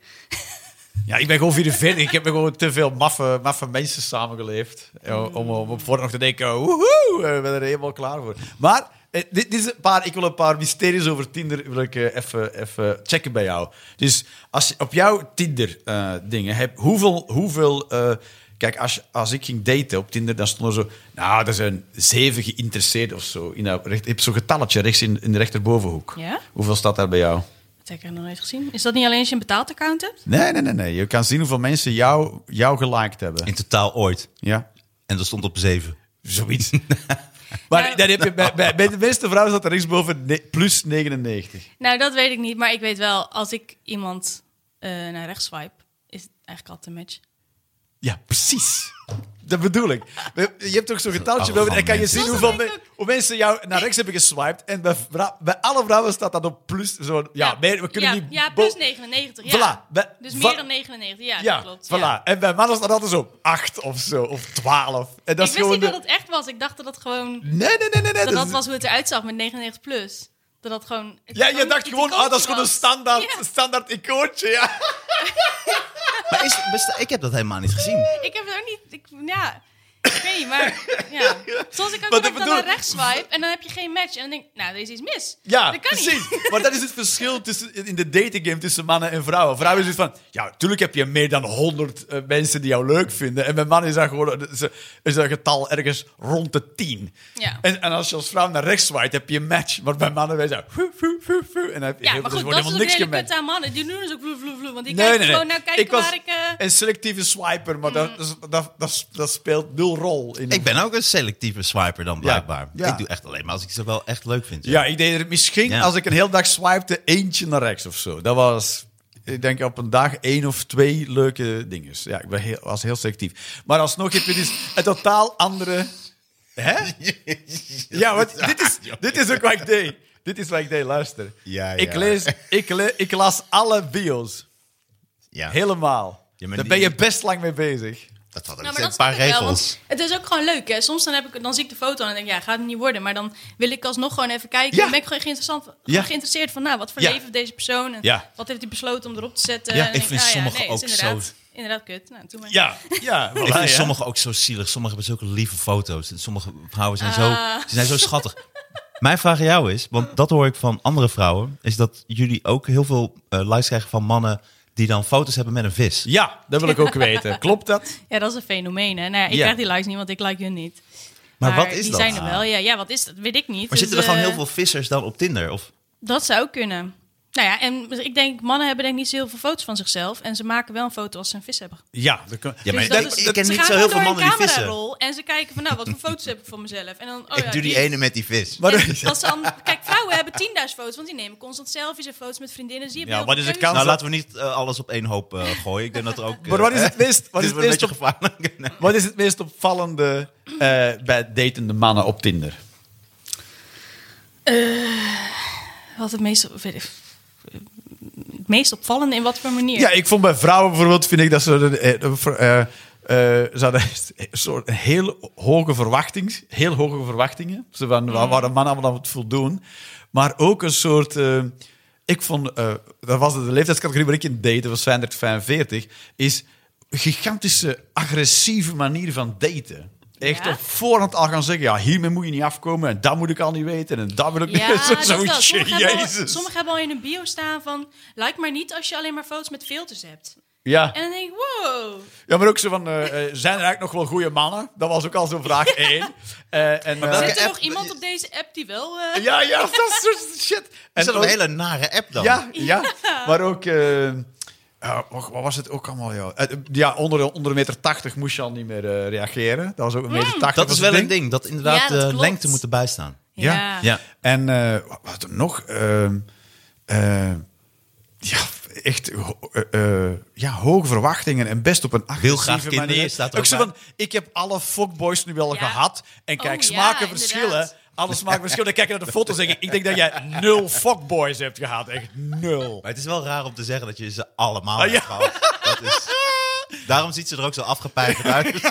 B: Ja, ik ben gewoon 44. ik heb gewoon te veel maffe, maffe mensen samengeleefd. eh, Om, om op voorhand nog te denken, woehoe, eh, we zijn er helemaal klaar voor. Maar eh, dit, dit is een paar, ik wil een paar mysteries over Tinder wil ik, eh, even, even checken bij jou. Dus als, je- op jouw Tinder-dingen, heb hoeveel... hoeveel eh, Kijk, als, als ik ging daten op Tinder, dan stond er zo... Nou, er zijn zeven geïnteresseerd of zo. In dat, recht- je hebt zo'n getalletje rechts in, in de rechterbovenhoek.
D: Ja?
B: Hoeveel staat daar bij jou?
D: Dat heb ik nog nooit gezien. Is dat niet alleen als je een betaald account hebt?
B: Nee, nee, nee, nee. Je kan zien hoeveel mensen jou, jou geliked hebben.
C: in totaal ooit.
B: Ja.
C: En dat stond op zeven.
B: Zoiets. maar
D: Nou-
B: dan heb je, bij, bij, bij de meeste vrouwen staat er rechtsboven ne- plus 99.
D: Nou, dat weet ik niet. Maar ik weet wel, als ik iemand eh, naar rechts swipe, is het eigenlijk altijd een match.
B: Ja, precies. Dat bedoel ik. We- Je hebt toch zo'n getalletje
C: Arrogant
B: boven en kan je
C: mensen.
B: zien
D: Dat
B: hoeveel
D: weet ik
B: me- hoe mensen jou naar rechts hebben geswiped. En bij, vrou- bij alle vrouwen staat dat op plus. Zo, ja, meer- we kunnen
D: ja,
B: niet...
D: Ja,
B: bo-
D: plus 99. Ja.
B: Voilà. Bij-
D: Dus
B: va-
D: meer dan 99. Ja,
B: Ja,
D: dat klopt.
B: voilà.
D: ja.
B: En bij mannen staat altijd zo 8 of zo, of 12. En dat
D: ik
B: is
D: wist
B: gewoon
D: niet
B: de-
D: dat het echt was. Ik dacht dat dat gewoon...
B: Nee, nee, nee, nee. nee.
D: Dat dat
B: is-
D: was hoe het eruit zag met 99 plus. Dat dat gewoon... het
B: Ja, je
D: gewoon
B: dacht
D: het
B: gewoon, ah, dat is
D: icoontje
B: gewoon een
D: was.
B: standaard,
D: Ja.
B: standaard icoontje, ja.
C: Maar is, besta- ik heb dat helemaal niet gezien.
D: Ik heb het ook niet. Ik, ja, ik weet niet, maar. Ja. Zoals ik ook
B: Maar
D: wel
B: dat
D: heb dan
B: bedoel-
D: naar rechts swipe en dan heb je geen match. En dan denk ik, nou, deze is mis.
B: Ja,
D: dat kan
B: precies.
D: niet.
B: Maar dat is het verschil tussen, in de datinggame tussen mannen en vrouwen. Vrouwen is het van, ja, natuurlijk heb je meer dan 100 eh, mensen die jou leuk vinden. En bij mannen is dat gewoon is, is dat getal ergens rond de 10.
D: Ja.
B: En, en als je als vrouw naar rechts zwaait, heb je een match. Maar bij mannen wij zo, foe, foe, foe, foe. En dan heb je
D: Ja,
B: heel-
D: maar
B: dus
D: goed,
B: wordt
D: dat
B: helemaal
D: is ook
B: niks
D: een hele
B: gematcht.
D: kut aan mannen. Die doen dus ook vloe, vloe, vloe. Want die kijken gewoon naar kijken
B: ik was
D: waar ik... eh,
B: een selectieve swiper,
D: Mm.
B: maar dat, dat, dat, dat, speelt nul rol. In
C: Ik ben ook een selectieve swiper dan blijkbaar.
B: Ja.
C: Ik doe echt alleen maar als ik ze wel echt leuk vind.
B: Ja, ik deed er misschien
C: Ja.
B: als ik een hele dag swipte eentje naar rechts of zo. Dat was ik denk op een dag één of twee leuke dingen. Ja, ik ben heel, was heel selectief. Maar alsnog heb je dus een totaal andere... Hè? Ja, want dit is, dit is ook wat ik deed. Dit is wat ik deed, luister.
C: Ja,
B: Ik,
C: ja.
B: lees, ik, le- ik las alle bios.
C: Ja,
B: Helemaal.
C: Ja, maar
B: Daar
C: die-
B: ben je best lang mee bezig.
C: dat had ik
D: Nou, maar
C: een
D: dat snap
C: paar
D: ik wel,
C: regels.
D: want het is ook gewoon leuk. Hè? Soms dan, heb ik, dan zie ik de foto en dan denk ik, ja, gaat het niet worden. Maar dan wil ik alsnog gewoon even kijken.
B: Ja.
D: Dan ben ik gewoon geïnteressant,
B: Ja.
D: geïnteresseerd van, nou, wat voor
B: Ja.
D: leven heeft deze persoon? En
B: Ja.
D: Wat heeft hij besloten om erop te zetten?
C: Ja,
D: En
C: ik
D: dan denk
C: vind
D: ah,
C: sommige
D: nee, is
C: ook
D: inderdaad,
C: zo-
D: Inderdaad kut. Nou, doe maar.
B: Ja, Ah, ja.
C: Ik vind sommigen ook zo zielig. Sommigen hebben zulke lieve foto's. En sommige vrouwen zijn,
D: Ah.
C: zo, ze zijn zo schattig. Mijn vraag aan jou is, want dat hoor ik van andere vrouwen... is dat jullie ook heel veel eh likes krijgen van mannen... die dan foto's hebben met een vis.
B: Ja, dat wil ik ook weten. Klopt dat?
D: Ja, dat is een fenomeen. Hè? Nou, ja, ik
B: Ja.
D: krijg die likes niet, want ik like hun niet.
C: Maar wat is
D: die
C: dat?
D: zijn er wel. Ja, ja, wat is dat? Weet ik niet.
C: Maar
D: Dus,
C: zitten er gewoon
D: eh,
C: heel veel vissers dan op Tinder? Of,
D: Dat zou kunnen. Nou ja, en ik denk, mannen hebben denk ik niet zo heel veel foto's van zichzelf. En ze maken wel een foto als ze een vis hebben.
B: Ja, dat kan-
C: Ja, maar
D: Dus
C: ik-
D: dat is-
C: ik ken
D: ze
C: niet
D: gaan
C: zo heel veel
D: gewoon door
C: mannen die
D: een
C: vissen.
D: camerarol En ze kijken van, nou, wat voor foto's heb ik van mezelf? En dan, oh ja,
C: ik doe die ene met die vis.
B: Maar
D: en als ze dan, kijk, vrouwen hebben 10.000 foto's, want die nemen constant selfies en foto's met vriendinnen. Zie je
B: Ja,
D: beelden
B: wat is
D: van
B: de
D: keuze?
B: kans?
C: Nou, laten we niet eh, alles op één hoop eh, gooien. Ik denk dat er ook... eh,
B: Maar wat is het meest, wat
C: dit
B: is
C: is
B: het
C: wel een
B: meest,
C: beetje
B: op-
C: gevaarlijk. Nee.
B: wat is het meest opvallende eh, bij datende mannen op Tinder?
D: Wat het meest, op- weet ik- het meest opvallende, in wat voor manier?
B: Ja, ik vond bij vrouwen bijvoorbeeld, vind ik dat ze... eh, eh, ver- eh, eh, ze hadden een soort heel hoge verwachtingen. Heel hoge verwachtingen. Ze van,
D: Mhm.
B: waar waar de mannen allemaal aan het voldoen. Maar ook een soort... eh, ik vond... eh, dat was de leeftijdscategorie waar ik in date, dat was 35, 45. Is gigantische agressieve manier van daten. Echt
D: Ja?
B: op voorhand al gaan zeggen, ja, hiermee moet je niet afkomen en dat moet ik al niet weten en dat wil ik
D: Ja,
B: niet.
D: dat is
B: Zo-
D: dat.
B: Zoiets,
D: Sommigen, hebben al,
B: jezus.
D: sommigen hebben al in hun bio staan van... like maar niet als je alleen maar foto's met filters hebt.
B: Ja.
D: En dan denk ik, wow.
B: Ja, maar ook zo van, eh, eh, zijn er eigenlijk nog wel goede mannen? Dat was ook al zo'n vraag één. Eh, en, eh,
C: welke-
D: Zit er
C: app-
D: nog iemand op deze app die wel... eh,
B: ja, ja, dat soort shit.
C: Is dat
B: ook-
C: een hele nare app dan?
B: Ja, ja. Maar ook... eh, eh, wat wat was het ook allemaal, joh? Eh, ja, onder, onder 1,80 meter moest je al niet meer eh, reageren. Dat was ook 1,80 meter.
C: Dat is wel een ding. Dat inderdaad
D: Ja, dat
C: eh,
D: klopt.
C: lengte moet erbij staan.
B: Ja.
C: Ja.
B: En eh, wat- wat er nog? Ehm, eh, ja, echt ho- eh, eh, ja, hoge verwachtingen en best op een
C: Wil
B: agressieve
C: graag kinderen,
B: manier.
C: staat er
B: ook
C: ook
B: zo
C: bij.
B: van, ik heb alle fuckboys nu wel
D: Ja.
B: gehad. En kijk,
D: Oh, ja,
B: smaken verschillen.
D: inderdaad.
B: Alle smaken verschillen. Kijk je naar de foto zeg ik, ik denk dat jij nul fuckboys hebt gehad. Echt nul.
C: Maar het is wel raar om te zeggen dat je ze allemaal
B: Ah, ja.
C: hebt gehad. Dat is... Daarom ziet ze er ook zo afgepeigerd uit.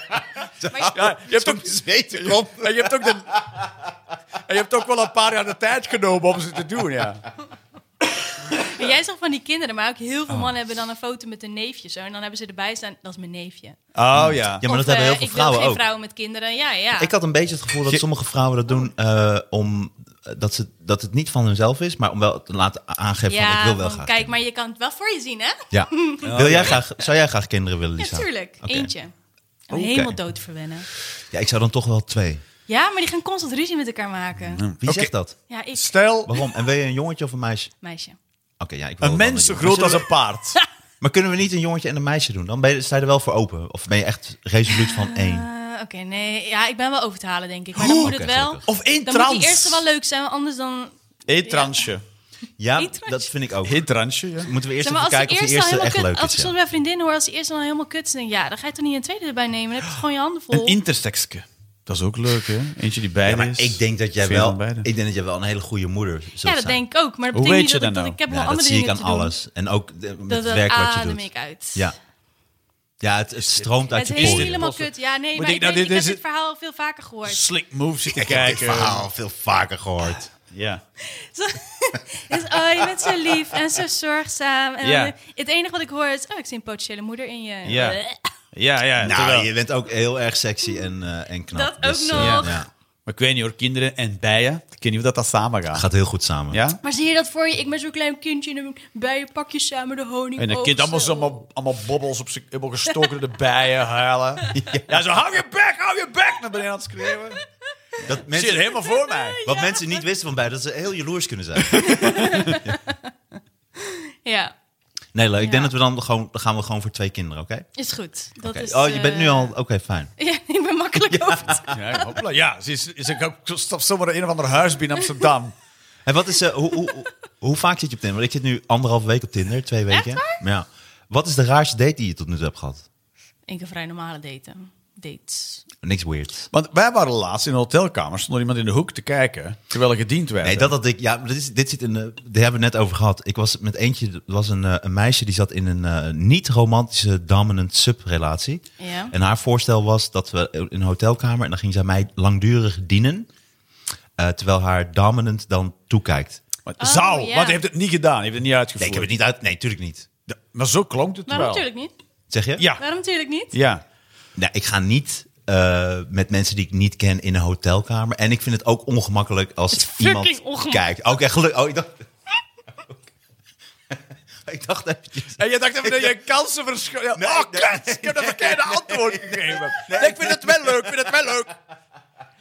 D: Maar,
B: Ja, je hebt ook...
C: zweten kop.
B: En je, hebt ook de, en je hebt ook wel een paar jaar de tijd genomen om ze te doen, ja.
D: maar jij zegt van die kinderen, maar ook heel
C: Oh.
D: veel mannen hebben dan een foto met een neefje. Zo, en dan hebben ze erbij staan, dat is mijn neefje.
B: Oh ja.
C: Ja, maar
D: Of,
C: dat hebben
D: eh,
C: heel veel vrouwen
D: Ik wil geen
C: ook.
D: vrouwen met kinderen. Ja, ja.
C: Ik had een beetje het gevoel dat sommige vrouwen dat doen eh, om eh, dat, ze, dat het niet van hunzelf is, maar om wel te laten a- aangeven
D: ja,
C: van ik wil wel
D: van,
C: graag.
D: Kijk, maar je kan het wel voor je zien, hè?
C: Ja. wil jij graag, zou jij graag kinderen willen, Lisa?
D: Natuurlijk.
C: Oké.
D: Eentje. En
C: Oké.
D: Helemaal dood verwennen.
C: Ja, ik zou dan toch wel twee.
D: Ja, maar die gaan constant ruzie met elkaar maken.
C: Wie
B: Oké.
C: zegt dat?
D: Ja, ik,
B: Stel,
C: Waarom? En wil je een jongetje of een meisje? Oké,
D: meisje.
C: ja, ik wil
B: een
C: wel
B: mens zo
C: jongetje. Maar
B: groot als
C: zullen
B: een paard.
C: we- Maar kunnen we niet een jongetje en een meisje doen? Dan ben je, sta je er wel voor open. Of ben je echt resoluut van één?
D: Eh, Oké, nee. Ja, ik ben wel over te halen, denk ik. Maar dan moet
C: Oh. Oké,
D: het wel...
C: gelukkig.
B: Of één
D: Dan
B: trans.
D: moet die eerste wel leuk zijn, want anders dan...
B: Eén transje.
C: Ja,
D: Eén transje.
C: dat vind ik ook.
B: Eén transje, ja.
C: Moeten we eerst
D: Zeg maar,
C: even
D: als
C: kijken
D: de
C: of de
D: eerste al
C: eerste
D: helemaal
C: echt
D: kut-
C: leuk
D: Als
C: is.
D: ik
C: ja.
D: soms bij vriendinnen hoor, als de eerste dan helemaal kut is, dan denk ik, ja, dan ga je toch niet een tweede erbij nemen. Dan heb je toch gewoon je handen vol.
B: Een intersexke. Dat is ook leuk, hè? Eentje die
C: Ja,
B: beide
C: maar
B: is.
C: ik denk dat jij
B: Veel
C: wel,
B: van beide.
C: ik denk dat jij wel een hele goede moeder zult
D: ja, dat
C: zijn.
D: denk ik ook. Maar dat
B: Hoe
D: betekent
B: weet
D: niet
B: je
D: dat, ik,
B: dat nou?
D: dat ik heb
C: Ja,
D: nog
C: dat
D: andere
C: zie
D: dingen
C: ik aan
D: te doen.
C: alles. En ook de- met
D: Dat
C: het
D: dat
C: werk wat je
D: adem
C: doet.
D: ik uit.
C: Ja. ja, het, het stroomt uit
D: Het
C: je
D: is
C: poriën.
D: helemaal kut. Ja, nee, maar
B: ik
D: ik,
B: nou,
D: denk-
B: dit
D: ik
B: is
D: heb dit
B: het-
D: verhaal veel vaker gehoord.
B: Slick move zitten
C: Ik heb dit
B: kijken.
C: verhaal veel vaker gehoord.
B: Ja.
D: Dus, oh, je bent zo lief en zo zorgzaam. En
B: Ja.
D: dan- het enige wat ik hoor is, oh, ik zie een potentiële moeder in je.
B: Ja. Ja, ja.
C: Nou,
B: terwijl-
C: je bent ook heel erg sexy en, eh, en knap.
D: Dat ook
C: eh,
D: nog.
C: ja.
B: Maar ik weet niet hoor, kinderen en bijen. Ik weet niet of dat, dat samen gaat.
C: Gaat heel goed samen.
B: Ja?
D: Maar zie je dat voor je? Ik ben zo'n klein kindje en dan bij je pakje samen de honing
B: En een kind
D: oogsten.
B: allemaal, zo, allemaal, allemaal bobbels op zijn... Helemaal gestoken door de bijen, huilen. Ja, zo hou je bek, hou je bek naar beneden aan het schreeuwen.
C: Dat
B: Ik zie het
C: mensen,
B: helemaal voor mij.
C: wat mensen niet wisten van bij, dat ze heel jaloers kunnen zijn.
D: Ja,
C: Nee, leuk. Ik
D: Ja.
C: denk dat we dan gewoon, dan gaan we gewoon voor twee kinderen, oké?
D: is goed. Dat
C: Oké.
D: is,
C: oh, je bent
D: eh,
C: nu al... Oké, fijn.
D: Ja, ik ben makkelijk over te
B: Ja, hoppla. ja ze, is, is, ik ook- stap zomaar in een of ander huis binnen Amsterdam.
C: En wat is, eh, hoe, hoe, hoe, hoe vaak zit je op Tinder? Want ik zit nu anderhalf week op Tinder, twee weken. Ja. Wat is de raarste date die je tot nu toe hebt gehad?
D: Ik heb vrij normale daten. Dates.
C: Niks weird.
B: Want wij waren laatst in een hotelkamer, stond er iemand in de hoek te kijken, terwijl er gediend werd.
C: Nee, dat had ik. Ja, dit, is, dit zit in. de. daar hebben we het net over gehad. Ik was met eentje. Er was een, eh, een meisje die zat in een eh, niet-romantische dominant-sub-relatie.
D: Ja.
C: En haar voorstel was dat we in een hotelkamer. en dan ging zij mij langdurig dienen. eh, terwijl haar dominant dan toekijkt.
B: Maar,
D: Oh,
B: zou,
D: ja.
B: want hij heeft het niet gedaan, hij heeft het niet
C: Nee,
B: uitgevoerd.
C: ik heb het niet uit. Nee, tuurlijk niet.
B: Da- Maar zo klonk het
D: Waarom
B: wel.
D: natuurlijk Eh. niet?
C: Zeg je?
B: Ja,
D: Waarom natuurlijk niet?
B: ja.
C: Nou, ik ga niet eh, met mensen die ik niet ken in een hotelkamer. En ik vind het ook ongemakkelijk als
D: Het is fucking
C: iemand
D: ongemakkelijk.
C: kijkt. Oké, gelukkig. Oh, ik dacht. ik dacht eventjes.
B: En je dacht even dat je kansen verschil. Ja, oh,
C: nee,
B: kut! Ik heb dat verkeerde antwoord gegeven. Nee, ik vind het wel leuk, ik vind het wel leuk.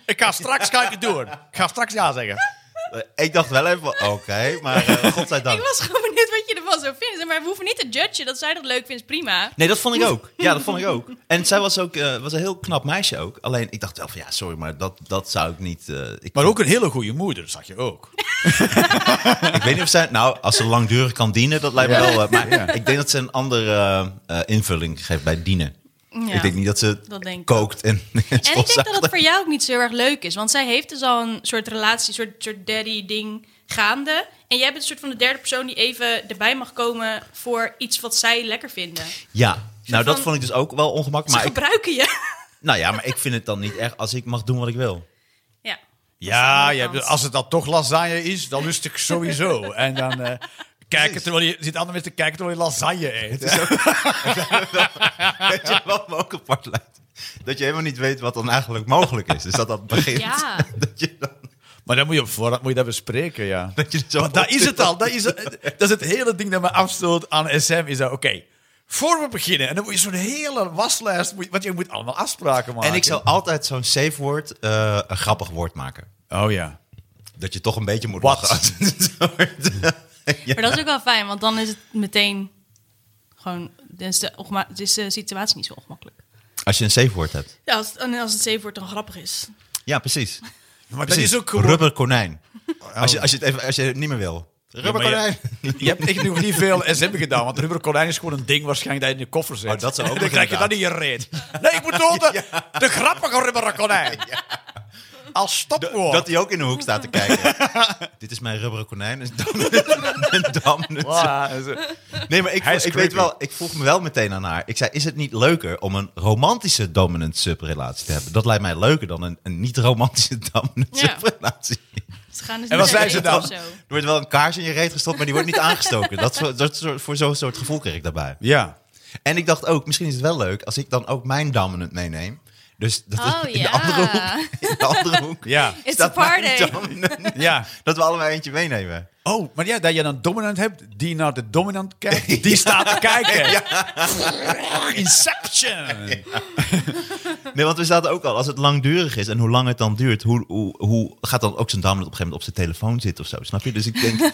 B: Ik ga straks ga ik het doen. Ik ga straks ja zeggen.
C: Ik dacht wel even. Oké, maar eh, godzijdank.
D: Ik was gewoon benieuwd wat je ervan zou vinden. Maar we hoeven niet te judgen dat zij dat leuk vindt, prima.
C: Nee, dat vond ik ook. Ja, dat vond ik ook. En zij was ook eh, was een heel knap meisje ook. Alleen ik dacht wel van ja, sorry, maar dat, dat zou ik niet. eh, ik,
B: Maar ook een hele goede moeder, zag je ook.
C: ik weet niet of zij. Nou, als ze langdurig kan dienen, dat lijkt me wel. eh, maar
B: Ja.
C: ik denk dat ze een andere eh, eh, invulling geeft bij dienen.
D: Ja.
C: Ik denk niet dat ze
D: Dat denk ik
C: kookt en.
D: En ik denk dat het voor jou ook niet zo heel erg leuk is. Want zij heeft dus al een soort relatie, een soort, soort daddy-ding gaande. En jij bent een soort van de derde persoon die even erbij mag komen voor iets wat zij lekker vinden. Ze
C: Ja, nou dat
D: van-
C: vond ik dus ook wel ongemakkelijk. Maar ik,
D: gebruiken je.
C: nou ja, maar ik vind het dan niet echt als ik mag doen wat ik wil.
D: ja.
B: Ja,
D: andere
B: je hebt-
D: kant.
B: als het dan toch lasagne is, dan lust ik sowieso. En dan eh, kijken terwijl je zit andere mensen te kijken terwijl je lasagne eet.
C: Weet je wat me ook apart lijkt? Dat je helemaal niet weet wat dan eigenlijk mogelijk is. Dus dat dat begint.
D: Ja.
C: Dat je dan.
B: Maar dan moet je op voorhand moet je dat bespreken, ja.
C: Dat je er zo
B: Want dat
C: op-
B: is het al. Dat is, het- dat is het hele ding dat me afstoot aan SM. Is dat oké? voor we beginnen, en dan moet je zo'n hele waslijst, moet je- want je moet allemaal afspraken maken.
C: En ik zou altijd zo'n safe woord eh, een grappig woord maken.
B: Oh ja.
C: Dat je toch een beetje moet
B: Wat?
C: lachen. als het een soort- ja.
D: Maar dat is ook wel fijn, want dan is het meteen gewoon... Dan is de, ongema- dan is de situatie niet zo ongemakkelijk.
C: Als je een safe woord hebt.
D: Ja, als, en als het zeven wordt dan grappig is.
C: Ja, precies.
B: Maar dat
C: precies.
B: is ook gewoon... Oh.
C: Rubber konijn. Als, je, als, je het even, als je het niet meer wil.
B: Ja,
C: Rubber
B: maar
C: konijn.
B: Je, je hebt echt nog niet veel SM gedaan, want rubber konijn is gewoon een ding waarschijnlijk dat je in je koffer zit.
C: Oh, dat zou ook
B: Dan
C: nog
B: krijg je dat niet in je reet. Nee, ik moet wel de, de grappige rubber konijn. Als stopwoord.
C: Dat hij ook in de hoek staat te kijken. Dit is mijn rubberen konijn. Dus dan, en dan
B: Voilà, dat is-
C: Nee, maar ik,
B: Hij
C: vo-
B: is
C: ik weet
B: creepy.
C: wel, ik vroeg me wel meteen aan haar. Ik zei, is het niet leuker om een romantische dominant subrelatie te hebben? Dat lijkt mij leuker dan een, een niet-romantische dominant
D: Ja.
C: subrelatie.
D: Ze gaan dus
B: En
D: niet
B: wat zei
D: naar
B: ze
D: eten of
B: dan?
D: zo.
C: Er wordt wel een kaars in je reet gestopt, maar die wordt niet aangestoken. Dat, soort- dat soort, voor zo'n soort gevoel kreeg ik daarbij.
B: Ja.
C: En ik dacht ook, misschien is het wel leuk als ik dan ook mijn dominant meeneem. Dus dat
D: Oh,
C: in, de
D: ja.
C: andere hoek, in de andere hoek
B: Ja.
D: It's
C: staat
D: a
C: mijn
D: party.
C: dominant.
B: Ja.
C: Dat we allemaal eentje meenemen.
B: Oh, maar ja, dat je een dominant hebt die naar de dominant kijkt, die staat te kijken. Inception.
C: Nee, want we zaten ook al, als het langdurig is en hoe lang het dan duurt, hoe, hoe, hoe gaat dan ook zijn dominant op een gegeven moment op zijn telefoon zitten of zo, snap je? Dus ik denk,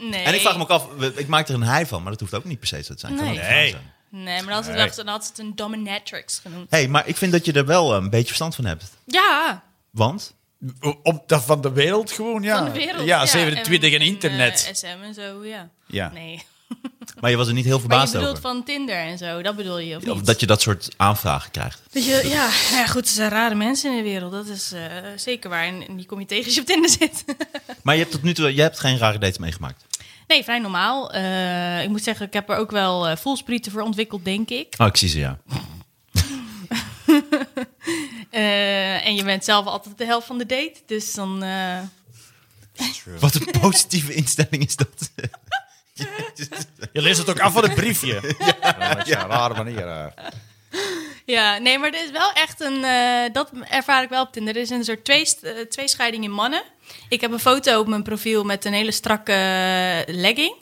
D: Nee.
C: en ik vraag me ook af, we- ik maak er een hij van, maar dat hoeft ook niet per se zo te zijn. Het kan
D: Nee.
C: ook een vrouw
B: Nee.
C: zijn.
D: Nee, maar dan had, het wel- dan had ze het een dominatrix genoemd.
C: hey, maar ik vind dat je er wel eh, een beetje verstand van hebt.
D: Ja,
C: Want?
B: Op dat van de wereld gewoon, ja.
D: van de wereld.
B: Ja, 27 en, internet.
D: eh, SM en zo, ja.
B: Ja.
D: Nee.
C: Maar je was er niet heel
D: Maar je
C: verbaasd
D: bedoelt
C: over.
D: van Tinder en zo, dat bedoel je, of niet?
C: Of dat je dat soort aanvragen krijgt.
D: Dat je- ja, ja, goed, er zijn rare mensen in de wereld, dat is eh, zeker waar. En, en die kom je tegen als je op Tinder zit.
C: Maar je hebt tot nu toe je hebt geen rare dates meegemaakt.
D: nee, vrij normaal. Eh, ik moet zeggen, ik heb er ook wel eh, voelsprieten voor ontwikkeld, denk ik.
C: Oh, ik zie ze, ja.
B: Ah.
D: Eh, en je bent zelf altijd de helft van de date, dus dan... eh,
C: Wat een positieve instelling is dat.
B: Je leest het ook af van het briefje. Ja, dat is een rare manier. eh.
D: Ja, nee, maar er is wel echt een. eh, dat ervaar ik wel op Tinder. Er is een soort tweest- eh, tweescheiding in mannen. Ik heb een foto op mijn profiel met een hele strakke eh, legging.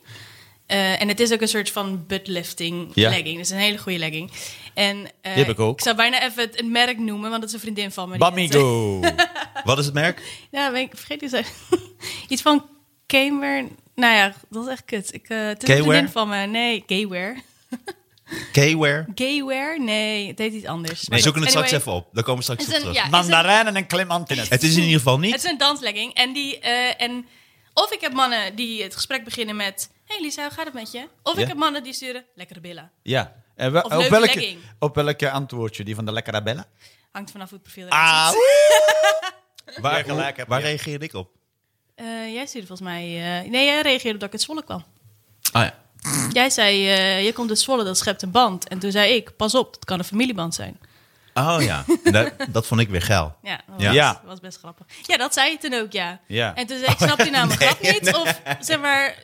D: Eh, en het is ook een soort van buttlifting
C: Ja.
D: legging. Dus een hele goede legging. En, eh,
B: Die heb ik ook.
D: Ik zou bijna even het, het merk noemen, want dat is een vriendin van me. die dat-
B: Bamigo.
C: Wat is het merk?
D: ja, ben ik vergeet te zeggen. Iets van Gamer. Nou ja, dat is echt kut. Ik, eh het is een
C: Gayware?
D: vriendin van me. Nee, Gayware.
C: K-Ware?
D: Gayware? Nee, het heet iets anders.
C: We zoeken het straks
D: Anyway,
C: even op. Daar komen we straks
D: het
C: op
D: is een-
C: terug.
D: ja, het is een-
B: Mandarijnen en clementines.
C: Het is in ieder geval
D: Het
C: niet.
D: is een danslegging. En, die, eh, en Of ik heb mannen die het gesprek beginnen met... hey Lisa, hoe gaat het met je? Of
C: Ja.
D: ik heb mannen die sturen... Lekkere billen.
B: Ja. En we-
D: Of
B: op,
D: leuke
B: welke,
D: legging.
B: op welke antwoordje? Die van de lekkere bellen?
D: Hangt vanaf hoe het profiel eruit
B: Ah,
D: ziet.
C: Waar,
B: Ja, gelijk heb
C: waar
B: je.
C: reageerde ik op?
D: Eh, jij stuurde volgens mij... eh, nee, jij reageerde dat ik uit Zwolle kwam.
C: Ah ja.
D: Jij zei, eh, je komt uit Zwolle, dat schept een band. En toen zei ik, pas op, dat kan een familieband zijn.
C: Oh ja. Nee, dat vond ik weer geil.
D: Ja, dat
C: Ja.
D: Was,
B: Ja.
D: dat was best grappig. Ja, dat zei je toen ook, ja.
B: Ja.
D: En toen zei ik, snap je nou mijn grap niet? Of zeg maar,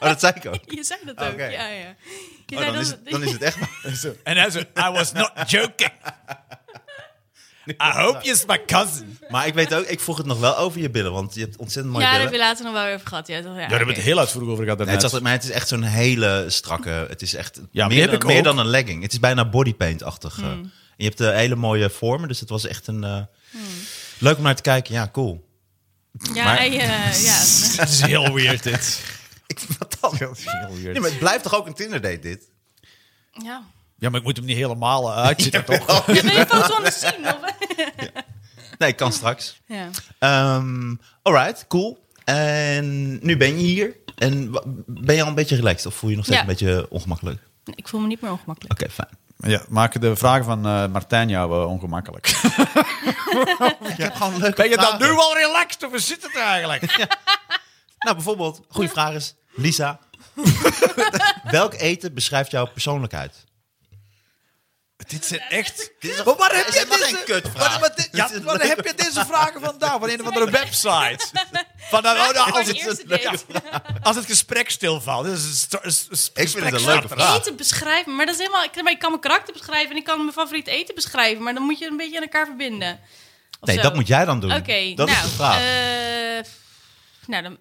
C: Oh, dat zei ik ook.
D: je zei dat ook.
C: Oké.
D: Ja, ja. Je
C: Oh,
D: zei
C: dan, is het, dan is het echt waar. Zo.
B: En hij zei, I was not joking. I hope you's my cousin.
C: Maar ik weet ook, ik vroeg het nog wel over je billen, want je hebt ontzettend mooie
D: ja, daar heb
C: billen.
D: je later nog wel weer over gehad. Ja, toch? ja,
B: Ja, daar hebben we
D: oké.
B: het heel uitvoerig over gehad
C: Nee, het
B: daarnet.
C: is altijd- maar het is echt zo'n hele strakke. Het is echt
B: die
C: meer,
B: heb
C: dan,
B: ik
C: meer
B: ook.
C: dan een legging. Het is bijna bodypaint-achtig. eh.
D: Hmm.
C: En je hebt eh, hele mooie vormen, dus het was echt een. eh,
D: Hmm.
C: Leuk om naar te kijken. Ja, cool.
D: Ja,
C: maar-
D: hij, eh, ja.
B: Het is heel weird, dit.
C: Ik, wat dan?
B: Heel weird.
C: Nee, maar het blijft toch ook een Tinder date dit?
D: ja.
B: Ja, maar ik moet hem niet helemaal eh, uitzitten, toch?
D: Ja, wil je foto anders zien? Of?
C: Nee, kan straks.
D: Ja.
C: Ehm alright, cool. En nu ben je hier. En wa- ben je al een beetje relaxed of voel je je nog steeds
D: Ja.
C: een beetje ongemakkelijk? Oké,
D: Nee, Ik voel me niet meer ongemakkelijk.
C: fijn.
B: Ja, maken de vragen van eh, Martijn jou eh, ongemakkelijk?
C: Ik heb gewoon een leuke
B: Ben je dan
C: vragen.
B: nu al relaxed of hoe zit het eigenlijk?
C: Nou, bijvoorbeeld, goede vraag is, Lisa. Welk eten beschrijft jouw persoonlijkheid?
B: dit zijn echt...
C: is een-
B: Maar waar heb
C: dit
B: je
C: is
B: deze...
C: echt een kutvraag.
B: Wat- wat- ja,
C: Dit is een
B: waar heb je deze vragen vandaan? Van een of andere website? Van, nou, nou,
D: Voor
B: als,
D: de
B: het,
D: eerste date.
B: als het gesprek stilvalt. Dit is een st- een s-
C: het een
B: gesprekstarter.
C: leuke vraag.
D: Eten beschrijven, maar dat is helemaal. Ik, maar ik kan mijn karakter beschrijven en ik kan mijn favoriet eten beschrijven, maar dan moet je het een beetje aan elkaar verbinden. Of
C: Nee,
D: zo.
C: dat moet jij dan doen.
D: Oké,
C: dat
D: nou,
C: is de vraag.
D: eh, nou, dan,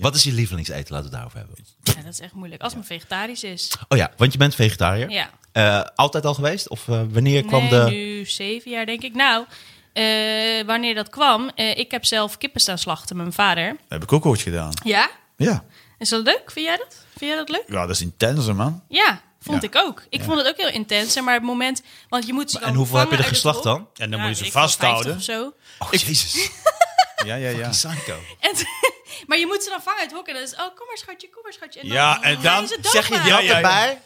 C: Wat is je lievelingseten? Laten we het daarover hebben.
D: ja, dat is echt moeilijk. Als het maar vegetarisch is.
C: Oh ja, want je bent vegetariër.
D: Ja.
C: Eh, altijd al geweest? Of eh, wanneer kwam
D: nee,
C: de...
D: nu zeven jaar denk ik. Nou, eh, wanneer dat kwam, eh, ik heb zelf kippen staan slachten met mijn vader.
B: Heb ik ook ooit gedaan.
D: Ja?
B: Ja.
D: Is dat leuk? Vind jij dat? Vind jij dat leuk?
B: Ja, dat is intenser, man.
D: Ja, vond
B: Ja.
D: ik ook. Ik vond het ook heel intens, hè, maar het moment, want je moet ze
C: En
D: dan
C: hoeveel heb je er
D: vangen uit het
C: geslacht
D: hok.
C: dan?
B: En dan
D: Ja,
B: moet je ze
D: weet ik veel, 50
B: vasthouden.
D: of zo.
C: Oh, jezus.
B: Ja, ja, ja.
C: Psycho.
D: En t- maar je moet ze dan vangen uit het hok en dan is oh kom maar schatje, kom maar schatje. En dan,
B: Ja, en dan
D: gaan ze dood
B: zeg je
D: maken.
B: ja,
C: Dat
B: ja.
C: erbij?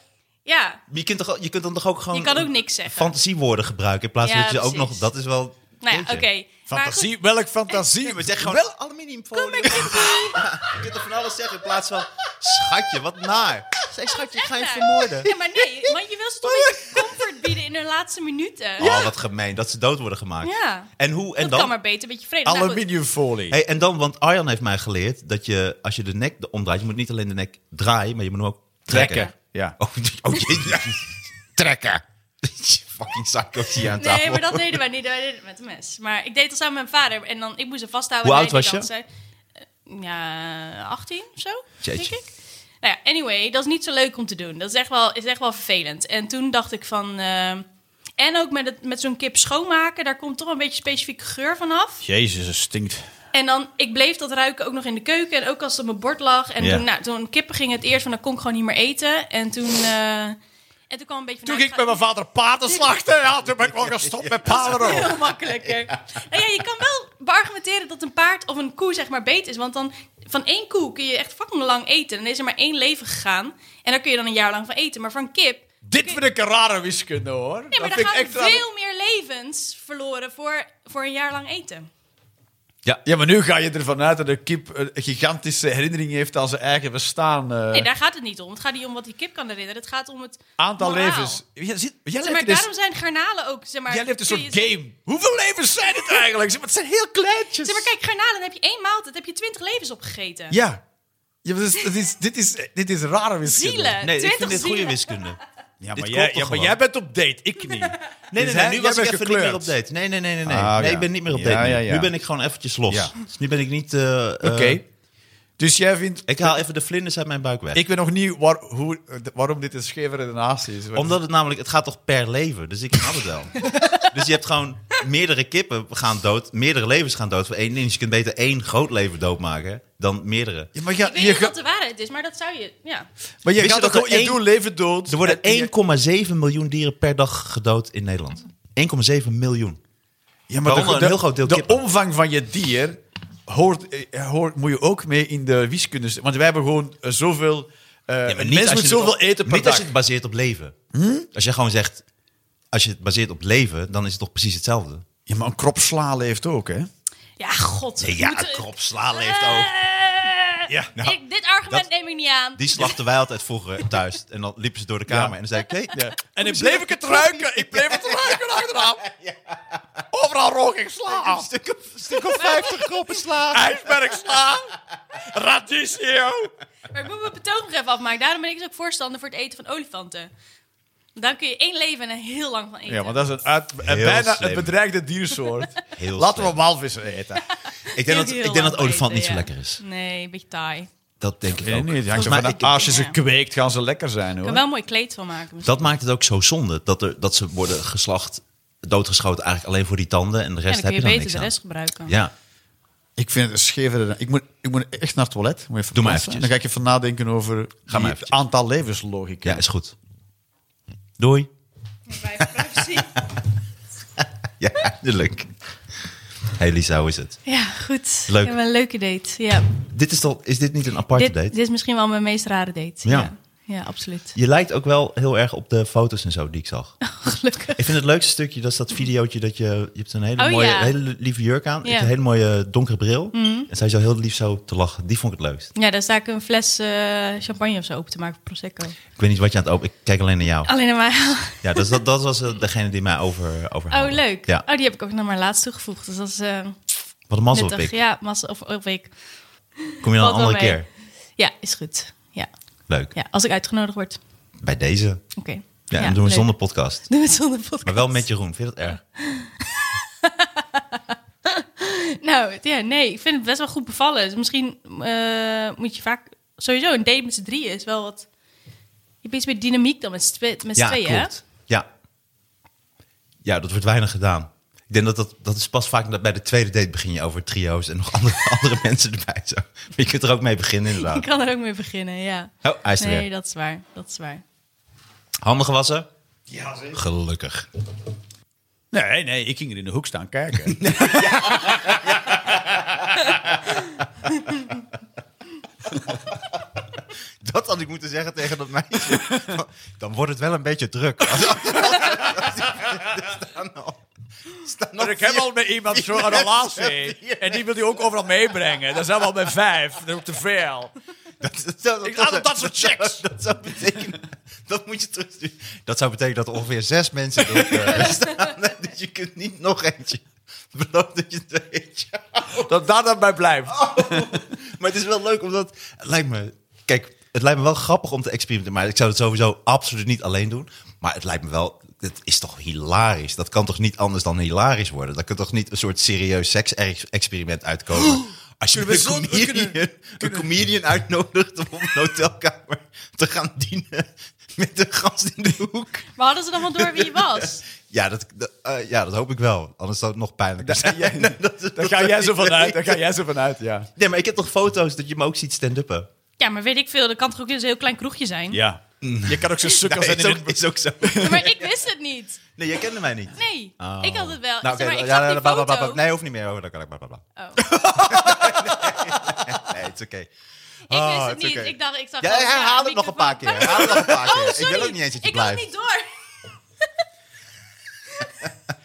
D: Ja,
C: Je kunt, toch, ook- je kunt dan toch ook gewoon...
D: je kan ook niks zeggen.
C: Fantasiewoorden gebruiken in plaats van
D: Ja,
C: dat je ook
D: precies.
C: nog... Dat is wel...
D: nou ja, oké.
C: Jeetje.
D: Maar goed,
B: Fantasie, welk fantasie?
C: Nee, maar zeg gewoon...
B: Wel-
C: Wel aluminiumfolie. Je kunt er van alles zeggen in plaats van... Schatje, wat naar. Zeg schatje, ik ga je
D: nou,
C: vermoorden.
D: Ja, maar nee, want je wil ze toch een beetje comfort bieden in hun laatste minuten.
C: Oh, wat gemeen. Dat ze dood worden gemaakt.
D: Ja.
C: En hoe... En
D: dat
C: dan?
D: kan maar beter, een beetje vrede. Nou, goed.
B: Aluminiumfolie.
C: Hey, en dan, want Arjan heeft mij geleerd dat je, als je de nek omdraait, je moet niet alleen de nek draaien, maar je moet hem ook trekken.
B: Ja.
C: Oh, oh jee. Trekken. Fucking psycho hier aan tafel.
D: Nee, maar dat deden wij niet. Wij deden het met een mes. Maar ik deed dat samen met mijn vader. En dan, ik moest hem vasthouden.
C: Hoe
D: en
C: oud
D: hij
C: was
D: deed dat. Zij- eh, Ja, 18 of zo,
C: Jeetje.
D: denk ik. Nou ja, anyway, dat is niet zo leuk om te doen. Dat is echt wel, is echt wel vervelend. En toen dacht ik van... eh, en ook met, het, met zo'n kip schoonmaken, daar komt toch een beetje specifieke geur vanaf.
B: Jezus, het stinkt.
D: En dan, ik bleef dat ruiken ook nog in de keuken. En ook als het op mijn bord lag. En
B: Ja.
D: toen, nou, toen kippen ging het eerst van, dan kon ik gewoon niet meer eten. En toen, eh, en toen kwam een beetje van...
B: Toen
D: nou,
B: ging ik
D: ga-
B: met mijn vader paten slachten. Ja, toen ben ik wel gestopt met paarden.
D: Veel makkelijker. Nou ja, je kan wel beargumenteren dat een paard of een koe zeg maar beet is. Want dan van één koe kun je echt fucking lang eten. Dan is er maar één leven gegaan. En daar kun je dan een jaar lang van eten. Maar van kip...
B: Dit vind ik een rare wiskunde, hoor.
D: Ja, maar
B: Dat
D: dan
B: vind
D: gaan
B: ik echt raar.
D: veel meer levens verloren voor, voor een jaar lang eten.
B: Ja, maar nu ga je ervan uit dat de kip een gigantische herinnering heeft aan zijn eigen bestaan. eh,
D: Nee, daar gaat het niet om. Het gaat niet om wat die kip kan herinneren. Het gaat om het
B: aantal
D: moraal.
B: levens. Jij, zit, jij,
D: Zeg
B: leeft
D: maar
B: in een-
D: daarom zijn garnalen ook... Zeg maar,
B: jij leeft een
D: kun
B: soort
D: je-
B: game. Hoeveel levens zijn het eigenlijk? Zeg maar, het zijn heel kleintjes.
D: Zeg maar kijk, garnalen dan heb je één maaltijd. heb je twintig levens opgegeten.
B: Ja. Ja, maar dit, is, dit, is, dit, is, dit is rare wiskunde.
D: Zielen.
C: Nee, ik
D: 20
C: vind dit goede
D: zielen.
C: wiskunde.
B: Ja,
C: Dit
B: maar,
C: klopt
B: jij,
C: toch
B: ja, maar
C: gewoon?
B: jij bent op date, ik niet.
C: Nee,
B: Dus
C: nee, nee, nu was ik even niet meer op
B: date.
C: date. Nee, nee, nee, nee. nee.
B: Ah,
C: nee,
B: ja.
C: ik ben niet meer op
B: Ja,
C: date. nu.
B: ja, ja.
C: Nu ben ik gewoon eventjes los.
B: Ja.
C: Dus nu ben ik niet... eh, eh,
B: Oké. Dus jij vindt...
C: Ik haal even de vlinders uit mijn buik weg.
B: Ik weet nog niet waar, hoe, eh, d- waarom dit een scheve redenatie is.
C: Omdat het namelijk, het gaat toch per leven, dus ik snap het wel. dus je hebt gewoon meerdere kippen gaan dood, meerdere levens gaan dood voor één ding. Dus je kunt beter één groot leven doodmaken dan meerdere.
B: Ja, maar je,
D: Ik weet
B: je,
D: niet
B: ga-
D: wat de waarheid is, maar dat zou je... Ja.
B: maar je
C: Wist je
B: gaat
C: dat
B: toch gewoon-
C: er
B: je
C: één-
B: doet leven dood.
C: Er worden
B: En je-
C: 1,7 miljoen dieren per dag gedood in Nederland. 1,7 miljoen.
B: Ja,
C: Waaronder een heel groot deel
B: de
C: kippen.
B: omvang van je dier hoort, eh, hoort, moet je ook mee in de wiskunde. Want wij hebben gewoon eh, zoveel... eh
C: Ja, maar
B: een
C: niet
B: mens
C: als
B: moet
C: je het
B: zoveel
C: op-
B: eten per
C: Niet
B: dag.
C: als je het baseert op leven. Als je gewoon zegt, als je het baseert op leven, dan is het toch precies hetzelfde.
B: Ja, maar een krop sla leeft ook, hè?
D: Ja, god.
C: Nee,
D: ik
C: ja,
D: moet-
C: een krop sla leeft
D: Eh,
C: ook. Ja, nou,
D: ik- dit argument
C: dat-
D: neem ik niet aan.
C: Die slachten wij altijd vroeger thuis. En dan liepen ze door de kamer en dan zei ik, nee,
B: Ja. En ik bleef ik het ruiken. Ik bleef het ruiken achteraan. Overal rook ik sla.
C: een stuk of, een stuk of 50 kroppen sla.
B: IJsberg sla. Radicchio.
D: Maar ik moet mijn betoog nog even afmaken. Daarom ben ik dus ook voorstander voor het eten van olifanten. Dan kun je één leven en er heel lang van eten.
B: Ja, want dat is een, uit, een
C: Heel
B: bijna
C: slim.
B: een bedreigde diersoort.
C: Heel
B: Laten we
C: slim.
B: walvissen eten.
C: Ik denk dat,
D: Heel
C: ik denk
D: lang
C: dat
D: van
C: olifant
D: eten,
C: niet zo
D: ja.
C: lekker is.
D: Nee, een beetje taai.
C: Dat denk ik
B: Ik weet
C: ook.
B: niet.
C: Volgens
B: hangt er
C: mij-
B: vanaf.
C: ik-
B: Als je
D: ja.
B: ze kweekt, gaan ze lekker zijn,
D: Ik kan
B: hoor.
D: wel een mooi kleed van maken. misschien.
C: dat maakt het ook zo zonde. Dat, er, dat ze worden geslacht, doodgeschoten eigenlijk alleen voor die tanden. En de
D: Ja,
C: rest
D: dan kun
C: heb je
D: je
C: dan
D: beter
C: niks
D: de
C: aan.
D: rest gebruiken.
C: Ja.
B: Ik vind het een schevere... dan- Ik moet, ik moet echt naar het toilet. Moet even
C: Doe
B: plassen.
C: maar eventjes.
B: Dan ga ik even nadenken over
C: maar
B: die
C: eventjes.
B: aantal levenslogica.
C: ja, is goed. Doei. Ja, eindelijk. Hey Lisa, hoe is het?
D: Ja, goed.
C: Leuk.
D: Ik heb een leuke date. Ja.
C: Dit is, toch, is dit niet een aparte
D: Dit,
C: date?
D: dit is misschien wel mijn meest rare date.
C: Ja.
D: ja. Ja, absoluut.
C: Je lijkt ook wel heel erg op de foto's en zo die ik zag.
D: Gelukkig.
C: Ik vind het leukste stukje, dat is dat videootje dat je... Je hebt een hele
D: Oh,
C: mooie,
D: ja.
C: hele lieve jurk aan. Je hebt
D: Ja. Mhm.
C: een hele mooie donkere bril. En zij zo heel lief zo te lachen. Die vond ik het leukst.
D: Ja, daar sta ik een fles eh, champagne of zo open te maken voor Prosecco.
C: Ik weet niet wat je aan het open... Ik kijk alleen naar jou.
D: Alleen naar mij.
C: Ja, dus dat, dat was eh, degene die mij over,
D: Oh,
C: overhaalde.
D: leuk.
C: Ja,
D: Oh, die heb ik ook naar mijn laatst toegevoegd. Dus dat is eh
C: wat een mazzel heb
D: nuttig.
C: ik.
D: Ja, massa of, of ik.
C: Kom je dan
D: Valt
C: een
D: wel
C: andere
D: mee.
C: keer?
D: Ja, is goed. Ja,
C: Leuk.
D: ja als ik uitgenodigd word.
C: Bij deze. Ja,
D: Oké.
C: en dan doen we
D: leuk.
C: zonder podcast.
D: Doen we het zonder podcast.
C: Maar wel met Jeroen. Vind je dat erg?
D: Nou, ja, nee, ik vind het best wel goed bevallen. Dus misschien eh, moet je vaak... Sowieso, een date met z'n drieën is wel wat... Je hebt iets meer dynamiek dan met z'n twee, met z'n
C: Ja,
D: tweeën, hè?
C: klopt. Ja. ja, dat wordt weinig gedaan. Ik denk dat dat, dat is pas vaak dat bij de tweede date begin je over trio's en nog andere, andere mensen erbij. Zo. Maar je kunt er ook mee beginnen
D: Je
C: inderdaad.
D: kan er ook mee beginnen, ja.
C: Oh, hij is er
D: nee,
C: weer.
D: dat is waar. Dat is waar.
C: Handen gewassen? Ja, zeker. Gelukkig.
B: Nee, nee, ik ging er in de hoek staan kijken.
C: Dat had ik moeten zeggen tegen dat meisje. Dan wordt het wel een beetje druk.
B: Maar ik heb al met iemand zo'n relatie. En die wil die ook overal meebrengen. Dat zijn we al bij vijf. Dat is ook te veel. Ik haat op dat soort checks.
C: Dat, zou betekenen. Dat moet je terugsturen. Dat zou betekenen dat er ongeveer zes mensen erop eh, staan. Dus je kunt niet nog eentje. Beloof dat je er eentje.
B: Dat daar dan bij blijft.
C: Oh. Maar het is wel leuk omdat. Het lijkt me. Kijk, het lijkt me wel grappig om te experimenteren. Maar ik zou het sowieso absoluut niet alleen doen. Maar het lijkt me wel. Het is toch hilarisch? Dat kan toch niet anders dan hilarisch worden? Dat kan toch niet een soort serieus seks-experiment uitkomen? Als je
B: Kunnen we
C: een
B: zo- we
C: comedian,
B: kunnen-
C: een comedian uitnodigt om op een hotelkamer te gaan dienen met een gast in de hoek.
D: Maar hadden ze dan wel door wie je was?
C: Ja, dat, dat- eh, ja, dat hoop ik wel. Anders zou het nog pijnlijker zijn.
B: Daar ga jij zo vanuit. Daar ga jij zo vanuit, ja.
C: Nee, maar ik heb toch foto's dat je me ook ziet stand-uppen?
D: Ja, maar weet ik veel. Dat kan toch ook eens een heel klein kroegje zijn?
B: Ja. Je kan ook zo sukkel
C: Mm.
B: zijn
C: Nee, is,
B: in
C: ook,
B: het...
C: is ook zo.
D: Ja, Maar ik wist het niet.
C: Nee, jij kende mij niet.
D: Nee, ik had het wel.
C: Nou, oké,
D: Zeg maar ik
C: ja,
D: zag
C: ja,
D: die
C: bla, bla, bla,
D: foto.
C: Nee, hoeft niet meer. Oh, dan kan ik bla, bla, bla.
D: Oh.
C: Nee, het is oké.
D: Ik
C: Oh,
D: wist het
C: is
D: niet.
C: oké.
D: Ik dacht, ik zag
C: Ja,
D: gewoon,
C: herhaal
D: ja,
C: het nog een paar keer.
D: microfoon. Oh,
C: Herhaal het nog een paar keer.
D: Sorry,
C: ik wil ook niet eens dat je
D: ik had het
C: blijft.
D: niet door.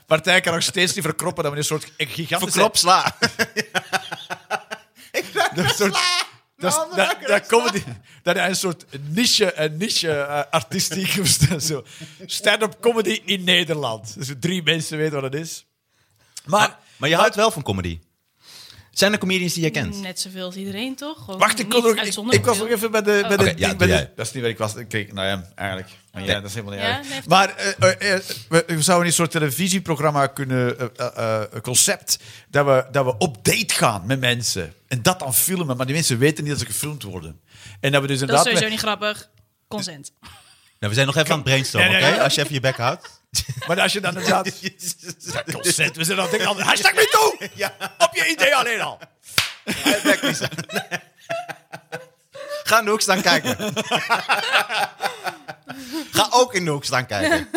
B: Partij kan nog steeds niet verkroppen dat we een soort gigantische...
C: Verkrop sla.
B: Dat soort... Dat,
C: Nou,
B: is- dat, dat comedy, dat is een soort niche, een niche eh, artistiek. of zo. Stand-up comedy in Nederland. Dus drie mensen weten wat het is. Maar,
C: Maar je houdt wel van comedy. Zijn er comedians die jij kent?
D: Net zoveel als iedereen, toch? Gewoon
B: Wacht, ik, kon
D: niet
B: ook, ik,
D: uitzonderlijk
B: ik was
D: veel.
B: nog even bij de. Bij de
C: Oké, ja,
B: ding-
C: doe
B: bij de-
C: jij.
B: dat is niet waar ik was. Ik kreeg, nou ja, eigenlijk. Maar ja, dat is helemaal niet
D: Ja,
B: eigenlijk.
D: nee, heeft-
B: maar eh, eh, eh, we, we zouden een soort televisieprogramma kunnen. eh, eh, eh, een concept. Dat we, dat we op date gaan met mensen. En dat dan filmen. Maar die mensen weten niet dat ze gefilmd worden. En dat we dus
D: Dat is
B: inderdaad.
D: sowieso niet grappig. Consent.
C: Nou, we zijn nog even aan het brainstormen,
B: Nee,
C: oké?
B: nee, nee.
C: Als je even je bek houdt.
B: Maar als je dan inderdaad. Consent, we zijn dan denk ik al. Hashtag me toe! Op je idee alleen al.
C: Ga in de hoek staan kijken. Ga ook in de hoek staan kijken.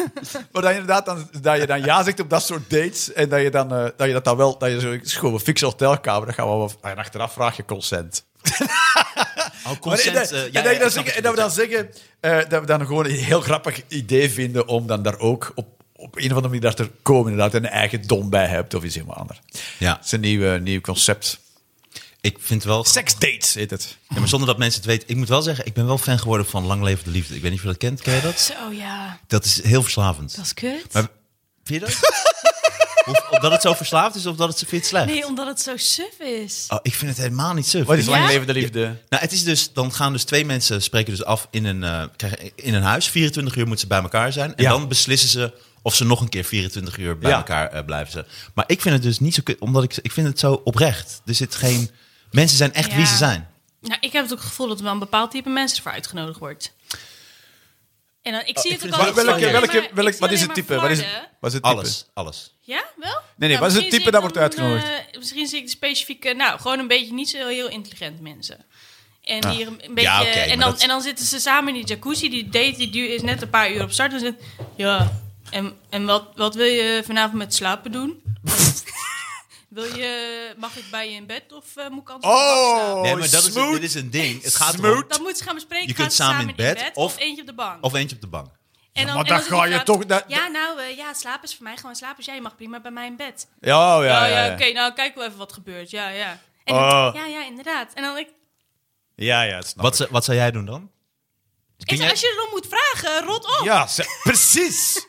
B: Maar dat je inderdaad dan, dat je dan ja zegt op dat soort dates. En dat je dan, eh, dat, je dat dan wel... Dat je zo, het is gewoon een fixe hotelkamer. Dan gaan we wel... En achteraf vraag je consent.
C: Oh,
B: Maar, eh, en dat je dan zeggen- en dat we dan zeggen... eh, dat we dan gewoon een heel grappig idee vinden om dan daar ook op, op een of andere manier daar te komen. Inderdaad, en een eigen dom bij hebt of iets helemaal anders.
C: Ja.
B: Het is een nieuw, eh, nieuw concept.
C: Ik vind wel...
B: Seksdates heet het.
C: Ja, maar zonder dat mensen het weten. Ik moet wel zeggen, ik ben wel fan geworden van Lang Leven de Liefde. Ik weet niet of je dat kent. Ken je dat?
D: Zo ja,
C: Dat is heel verslavend.
D: dat is kut.
C: Maar vind je dat? of, omdat het zo verslaafd is of dat het zo vindt slecht?
D: Nee, omdat het zo suf is.
C: Oh, ik vind het helemaal niet suf.
B: Wat is
D: Ja?
B: lang levende liefde?
C: Nou, het is dus, dan gaan dus twee mensen spreken dus af in een, eh, krijgen- in een huis. 24 uur moeten ze bij elkaar zijn. En
B: Ja.
C: dan beslissen ze of ze nog een keer 24 uur bij
B: Ja.
C: elkaar eh, blijven zijn. Maar ik vind het dus niet zo kut, omdat ik, ik vind het zo oprecht. Er zit geen... Mensen zijn echt
D: Ja.
C: wie ze zijn.
D: Nou, ik heb het ook het gevoel dat er wel een bepaald type mensen voor uitgenodigd wordt. En dan, ik zie het ook
C: vind
D: al.
C: het
B: Maar
D: ik
C: wel-
D: zie
B: welke,
D: alleen
C: maar-
B: welke,
D: ik
B: welke,
D: zie
B: wat is
D: alleen
B: het
D: maar
B: type? Wat is het,
D: flarden.
B: wat is het type?
C: Alles, alles.
D: Ja, wel? Nou,
B: nee, wat is het
D: misschien
B: type
D: zie
B: dat
D: ik
B: wordt
D: dan,
B: uitgenodigd?
D: eh, misschien zie ik de specifieke, nou, gewoon een beetje niet zo heel, heel intelligent mensen. En,
B: Ah.
D: die er een beetje,
C: Ja, oké, maar
D: en, dan,
C: dat-
D: en dan zitten ze samen in die jacuzzi. Die date die duur is net een paar uur op start. En ze ja, en, en wat, wat wil je vanavond met slapen doen? wil je, mag ik bij je in bed of eh, moet ik anders op de bank slapen?
B: Oh,
C: nee, maar dat is,
B: smooth.
C: dit is een ding. Het gaat
B: Smooth.
C: erom,
D: Dat moeten ze gaan bespreken.
C: Je
D: Gaan
C: kunt
D: ze
C: samen in bed
D: of,
C: of-
D: eentje op de bank.
C: of eentje op de bank.
D: en
B: maar dan
D: zit die
B: ga je
D: vraag,
B: toch- dat-
D: ja, nou, eh, ja, slaap is voor mij gewoon slaap. Dus jij mag prima bij mij in bed.
B: Ja, oh,
D: Ja,
B: ja,
D: ja,
B: ja.
D: oké, nou kijk wel even wat gebeurt. Ja, ja. En
B: Oh.
D: ja, ja, inderdaad. En dan ik,
B: Ja, ja, dat snap
C: Wat,
B: ik.
C: ze- wat zou jij doen dan?
D: ik
C: jij-
D: zeg, als je erom moet vragen, rot op.
B: Ja, ze- precies.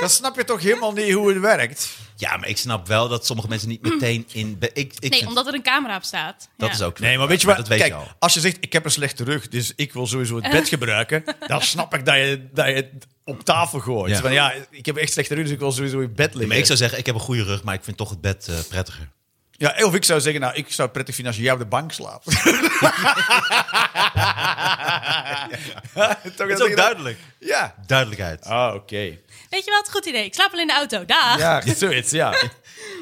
B: Dan snap je toch helemaal niet hoe het werkt.
C: Ja, maar ik snap wel dat sommige mensen niet meteen in... be- Ik, ik
D: nee,
C: vind-
D: omdat er een camera op staat.
C: Dat
D: Ja.
C: is ook...
B: Nee, maar weet je wat?
C: Dat weet
B: Kijk,
C: je al.
B: als je zegt, ik heb een slechte rug, dus ik wil sowieso het bed gebruiken, dan snap ik dat je, dat je het op tafel gooit.
C: Ja.
B: Van, ja, ik heb echt slechte rug, dus ik wil sowieso in bed liggen.
C: Maar ik zou zeggen, ik heb een goede rug, maar ik vind toch het bed eh, prettiger.
B: ja, of ik zou zeggen, nou, ik zou het prettig vinden als jij op de bank slaapt. Toch
C: Het is ook duidelijk. Oh.
B: Ja.
C: Duidelijkheid.
B: Ah, oké.
D: Weet je wat? Goed idee. Ik slaap al in de auto. Dag.
B: Ja, zoiets, ja.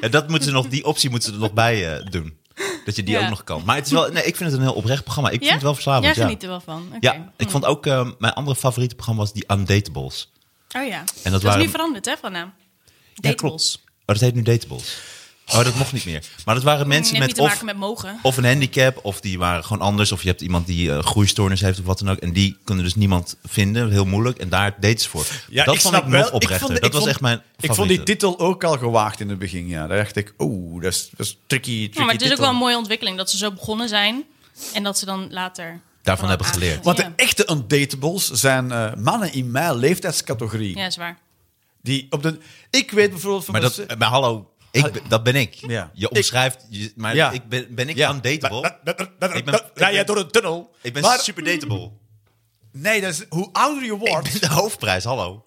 C: Ja, dat moeten ze nog, die optie moeten ze er nog bij eh, doen. Dat je die
D: Ja.
C: ook nog kan. Maar het is wel, nee, ik vind het een heel oprecht programma. Ik
D: Ja?
C: vind het wel verslavend.
D: Jij
C: Ja,
D: geniet er wel van. Oké.
C: ja ik vond ook eh, mijn andere favoriete programma was die Undateables.
D: Oh ja. dat
C: waren-
D: is nu veranderd, hè, van naam. Dateables.
C: Oh, dat heet nu Dateables. Oh, dat mocht niet meer. Maar dat waren mensen
D: Heeft niet
C: met
D: Mm, te
C: of,
D: maken met mogen.
C: of een handicap, of die waren gewoon anders. Of je hebt iemand die eh, groeistoornis heeft of wat dan ook. En die kunnen dus niemand vinden. Heel moeilijk. En daar dates voor.
B: Ja,
C: dat
B: ik
C: vond
B: snap
C: ik
B: wel.
C: nog oprechter.
B: vond-
C: dat was
B: vond-
C: echt mijn
B: Ik vond die
C: favoriete.
B: titel ook al gewaagd in het begin, ja. Daar dacht ik, oeh, dat is, dat is tricky, tricky
D: Ja, maar het is ook
B: titel.
D: wel een mooie ontwikkeling dat ze zo begonnen zijn en dat ze dan later.
C: Daarvan hebben
D: aan-
C: geleerd.
B: Want
D: ja.
B: de echte undateables zijn eh, mannen in mijn leeftijdscategorie.
D: ja, is waar.
B: Die op de, ik weet bijvoorbeeld van...
C: Maar, dat, eh, maar hallo, ik, ben- dat ben ik.
B: Ja.
C: Je omschrijft, je- maar
B: Ja.
C: ik ben, ben ik
B: Ja.
C: undateable?
B: dat- dat- dat-
C: Ik ben-
B: dat-
C: ik
B: Oh, rij jij
C: ben-
B: door een tunnel.
C: ik ben
B: maar,
C: super dateable.
B: Nee, dat is, hoe ouder je
C: Ik
B: wordt...
C: ben de hoofdprijs, hallo.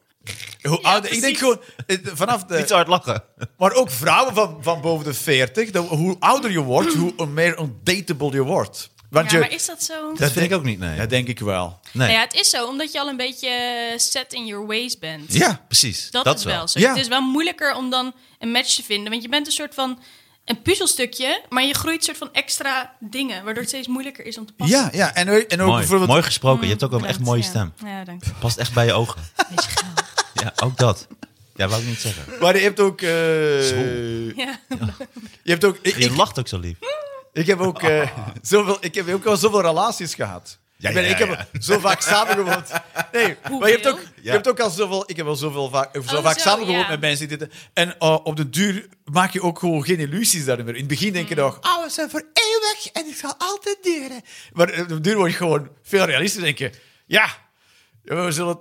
B: hoe ouder, ik
D: precies.
B: denk gewoon, eh, vanaf de...
C: Niet zo hard lachen.
B: Maar ook vrouwen van, van boven de 40. dat- hoe ouder je wordt, hoe meer undateable je wordt. Want
D: ja,
B: je,
D: maar is dat zo?
C: Dat vind
B: denk-
C: ik ook niet, nee.
B: Dat denk ik wel.
C: nee.
D: Nou ja, het is zo, omdat je al een beetje eh, set in your ways bent.
C: Ja, precies.
D: Dat, is wel zo.
B: Ja.
D: Het is wel moeilijker om dan een match te vinden. Want je bent een soort van een puzzelstukje, maar je groeit een soort van extra dingen, waardoor het steeds moeilijker is om te passen.
B: Ja, ja. En, en ook
C: Mooi,
B: bijvoorbeeld...
C: mooi gesproken. Je hebt ook wel een
D: Bedankt,
C: echt mooie
D: ja.
C: stem.
D: Ja, dank.
C: Past echt bij je ogen.
D: Weet je wel.
C: Ja, ook dat. Ja, wou ik niet zeggen.
B: Maar je hebt ook... eh,
C: Zo.
D: Ja.
B: je hebt ook... Ik,
C: Je
B: ik,
C: lacht ook zo lief.
B: ik heb ook, eh, zoveel, ik heb ook al zoveel relaties gehad.
C: Ja,
B: ik, ben-
C: ja,
B: ik
C: ja,
B: heb zo vaak samengewoond. Nee, maar je hebt, ook, je
C: Ja.
B: hebt ook al zoveel... Ik heb al zoveel vaak, zo
D: Oh,
B: vaak
D: zo,
B: samengewoond
D: ja.
B: met mensen. die Dit, en eh, op de duur maak je ook gewoon geen illusies daar meer. In het begin
D: Mm.
B: denk je nog... Oh, we zijn voor eeuwig en het zal altijd duren. Maar eh, op de duur word je gewoon veel realistischer. denk je... Ja, we zullen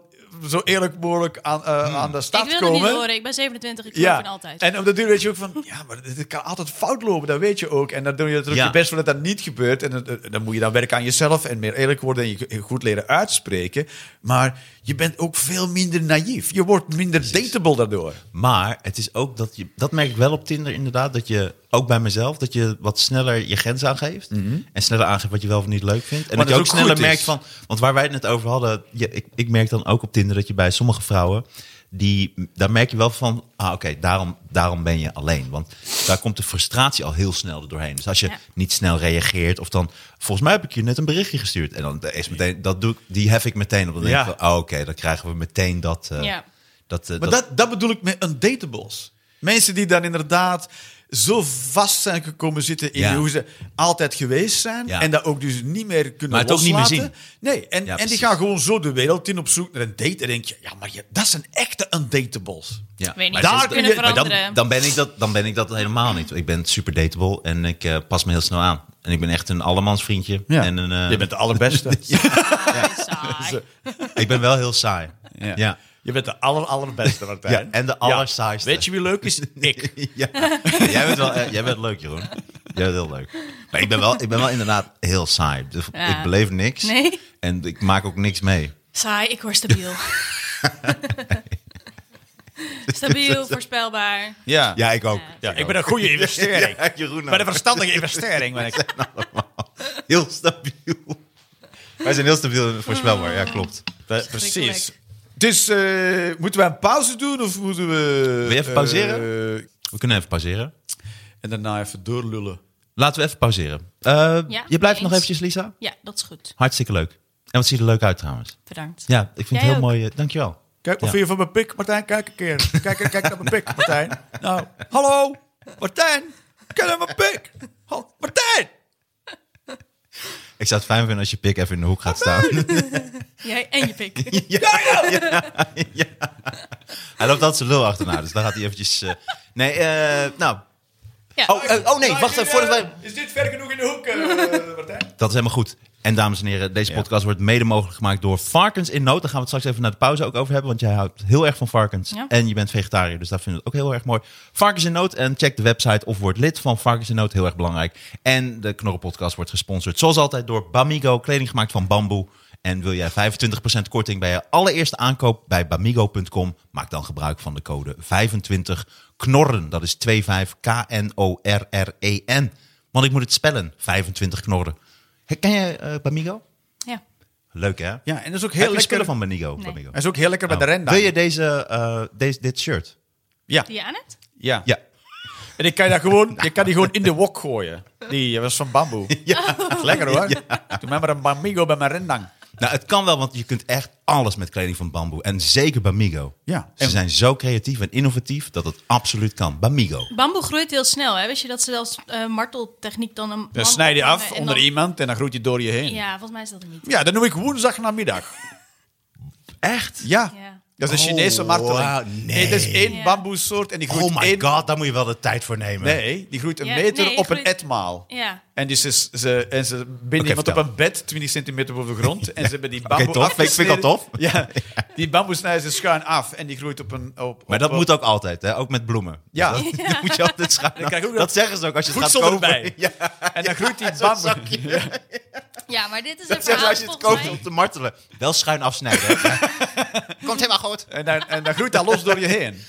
B: zo eerlijk mogelijk aan, eh,
C: Hmm.
B: aan de
D: Ik
B: start
D: wil het
B: komen.
D: niet horen, ik ben 27, ik geloof in altijd.
B: En op de duur weet je ook van, ja, maar dit kan altijd fout lopen, dat weet je ook. En dan doe je natuurlijk
C: Ja.
B: je best voor dat dat niet gebeurt. En dan, eh, dan moet je dan werken aan jezelf en meer eerlijk worden en je goed leren uitspreken. Maar je bent ook veel minder naïef. Je wordt minder dateable daardoor.
C: Maar het is ook dat je, dat merk ik wel op Tinder inderdaad, dat je ook bij mezelf, dat je wat sneller je grens aangeeft. En sneller aangeeft wat je wel of niet leuk vindt. En
B: Mhm. Maar
C: dat je
B: dat
C: ook
B: het ook
C: sneller
B: goed is.
C: merkt van, want waar wij het net over hadden, je, ik, ik merk dan ook op Tinder dat je bij sommige vrouwen, die, daar merk je wel van, ah oké, daarom, daarom ben je alleen. Want daar komt de frustratie al heel snel er doorheen. Dus als je
D: Ja.
C: niet snel reageert of dan, volgens mij heb ik je net een berichtje gestuurd. En dan is meteen, dat doe ik, die hef ik meteen op. Dan denk
B: Ja.
C: ik van, ah, oké, dan krijgen we meteen dat... eh,
D: Ja.
C: dat, eh,
B: Maar
C: dat-
B: dat, dat bedoel ik met undateables. Mensen die dan inderdaad zo vast zijn gekomen zitten in
C: Ja.
B: hoe ze altijd geweest zijn.
C: Ja.
B: En dat ook dus niet meer kunnen
C: Maar het ook niet meer
B: loslaten. Nee, en,
C: Ja,
B: en die
C: precies.
B: gaan gewoon zo de wereld in op zoek naar een date. En denk je, ja, maar je, dat zijn echte undateables.
C: Ja.
D: Weet niet,
C: Maar
D: ze
B: daar
D: kunnen
B: kun je- maar
C: Maar
D: veranderen.
C: dan, dan, ben ik dat, dan ben ik dat helemaal niet. Ik ben super dateable en ik eh, pas me heel snel aan. En ik ben echt een allemans vriendje.
B: Ja.
C: En een, eh,
B: Je bent de allerbeste.
D: Saai.
C: Ik ben wel heel saai. Ja. Ja.
B: Je bent de aller, allerbeste, Martijn.
C: Ja, en de allersaaiste.
B: Weet je wie leuk is? Ik.
C: Jij, bent wel, eh, jij bent leuk, Jeroen. Jij bent heel leuk. Maar ik ben wel, ik ben wel inderdaad heel saai. Dus
D: Ja.
C: Ik beleef niks.
D: Nee.
C: En ik maak ook niks mee.
D: Saai, ik word stabiel. stabiel, voorspelbaar.
B: Ja.
C: Ja, ik ook.
B: Ja, ik ben een goede investering.
C: Ja, Jeroen
B: Ik ben een
C: ook.
B: verstandige investering. Ben ik.
C: Heel stabiel. Wij zijn heel stabiel en voorspelbaar. Ja, klopt.
B: Pre- Precies. Dus eh, moeten wij een pauze doen of moeten we...
C: Wil je even pauzeren?
B: eh,
C: We kunnen even pauzeren.
B: en daarna even doorlullen.
C: Laten we even pauzeren. Eh,
D: Ja,
C: je blijft nog
D: eens.
C: eventjes, Lisa.
D: Ja, dat is goed.
C: Hartstikke leuk. En wat ziet er leuk uit trouwens.
D: Bedankt.
C: Ja, ik vind
D: Jij
C: het heel
D: ook.
C: mooi. eh, dankjewel.
B: Kijk, wat
C: Ja.
B: vind je van mijn pik, Martijn? Kijk een keer. Kijk, kijk, kijk naar mijn pik, Martijn. Nou, hallo, Martijn. Kijk naar mijn pik. Hal- Martijn!
C: Ik zou het fijn vinden als je pik even in de hoek gaat staan.
D: Jij en je pik.
C: Hij loopt altijd zijn lul achterna, dus dan gaat hij eventjes... eh, nee, eh, nou...
D: Ja.
C: Oh, eh, oh nee, wacht even, voordat wij...
B: Is dit ver genoeg in de hoek, eh, Martijn?
C: Dat is helemaal goed. En dames en heren, deze podcast wordt mede mogelijk gemaakt door Varkens in Nood. Daar gaan we het straks even naar de pauze ook over hebben, want jij houdt heel erg van varkens.
D: Ja.
C: En je bent vegetariër, dus dat vinden we ook heel erg mooi. Varkens in Nood en check de website of word lid van Varkens in Nood, heel erg belangrijk. En de Knorrenpodcast wordt gesponsord, zoals altijd, door Bamigo, kleding gemaakt van bamboe. En wil jij 25% korting bij je allereerste aankoop bij bamigo.com? Maak dan gebruik van de code 25 knorren. Dat is 25 K-N-O-R-R-E-N. E Want ik moet het spellen, 25 knorren. Ken je eh, Bamigo?
D: Ja.
C: Leuk hè?
B: Ja, en dat is ook
C: Heb
B: heel
C: je
B: lekker.
C: spullen van Bamigo?
D: Nee.
C: Bamigo?
B: Hij is ook heel lekker bij de renda.
C: Nou, Wil je deze, eh, deze, dit shirt?
B: Ja,
D: Die aan het?
B: ja.
C: Ja. Nou.
B: En ik kan, je dat gewoon, je kan die gewoon in de wok gooien. Die eh, was van bamboe.
C: ja.
B: Lekker hoor. Doe mij maar een bamigo bij mijn rendang.
C: Nou, het kan wel, want je kunt echt alles met kleding van bamboe. En zeker Bamigo.
B: Ja.
C: Ze
B: En-
C: zijn zo creatief en innovatief dat het absoluut kan. Bamigo.
D: Bamboe groeit heel snel, hè? Wist je dat ze als eh, marteltechniek dan een...
B: Dan
D: bamboe
B: snij je
D: hangen
B: af
D: en
B: onder
D: dan-
B: iemand en dan groeit je door je heen. Ja,
D: Ja, volgens mij is dat er niet.
B: dat noem ik woensdag namiddag.
C: Echt?
B: Ja.
D: Ja.
B: Dat is een
C: Oh,
B: Chinese marteling.
C: wauw,
B: nee.
C: nee.
B: dat is één
D: Ja.
B: bamboesoort en die groeit
C: Oh my
B: één...
C: god, daar moet je wel de tijd voor nemen.
B: Nee, die groeit een
D: Ja,
B: meter
D: nee,
B: op
D: groeit-
B: een etmaal.
D: Ja.
B: En, dus is ze, en ze binden
C: Oké,
B: iemand op
C: vertel.
B: een bed, 20 centimeter boven de grond. En ze hebben die
C: Oké,
B: bamboe
C: tof. Vind ik- vind ik al
B: afgesneden.
C: tof.
B: Ja, die bamboe snijden ze schuin af en die groeit op een... Op,
C: Maar
B: op-
C: dat
B: op-
C: moet ook altijd, hè? ook met bloemen.
B: Ja.
C: Dat, dat moet je altijd schuin.
B: krijg je ook
C: dat
B: nog
C: zeggen ze ook als je het gaat
B: voedsel
C: kopen.
B: erbij.
C: Ja,
B: En dan groeit die
C: zo'n
B: bamboe...
C: zakje.
D: ja, maar dit is een
C: Dat zeggen ze
D: verhaal
C: als je het
D: volgens
C: koopt
D: mij.
C: om te martelen. Wel schuin afsnijden. hè. Komt helemaal goed.
B: En dan, en dan groeit dat los door je heen.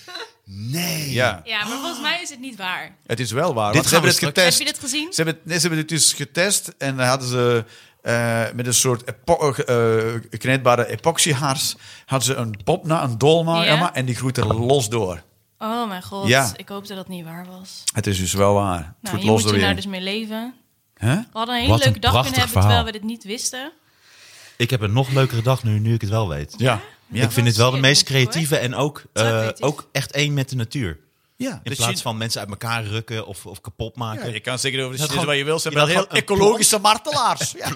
C: Nee.
B: Ja,
D: Ja, maar volgens mij is het niet waar.
B: het is wel waar.
C: Dit
B: want ze
C: gaan we
B: hebben het
C: straks-
B: getest.
D: Heb je dit gezien?
B: Ze hebben, nee, ze hebben het dus getest en dan hadden ze eh, met een soort epo- eh, eh, kneedbare epoxyhaars hadden ze een popna, een dolma,
D: Ja.
B: ja, maar, en die groeit er los door.
D: Oh mijn god,
B: Ja.
D: ik hoop dat dat niet waar was.
B: Het is dus wel waar. Het
D: Nou,
B: groeit
D: hier
B: los
D: moet je
B: door je
D: nou
B: heen.
D: dus mee leven.
B: Hè?
D: We hadden een hele
C: Wat een
D: leuke dag kunnen
C: prachtig
D: hebben,
C: verhaal.
D: terwijl we dit niet wisten.
C: Ik heb een nog leukere dag nu, nu ik het wel weet.
B: Ja. Ja.
C: Ik vind het wel de
D: Zeer
C: meest
D: goed, hoor.
C: creatieve en ook,
D: Zo
C: eh,
D: creatief.
C: ook echt één met de natuur.
B: Ja,
C: In
B: dus
C: plaats
B: je-
C: van mensen uit elkaar rukken of, of kapot
B: Ja,
C: maken.
B: je kan zeker over de Chinezen
C: Dat gewoon-
B: wat je wil. Ze
C: je
B: hebben wel
C: laat
B: heel
C: gewoon een
B: ecologische martelaars. Ja.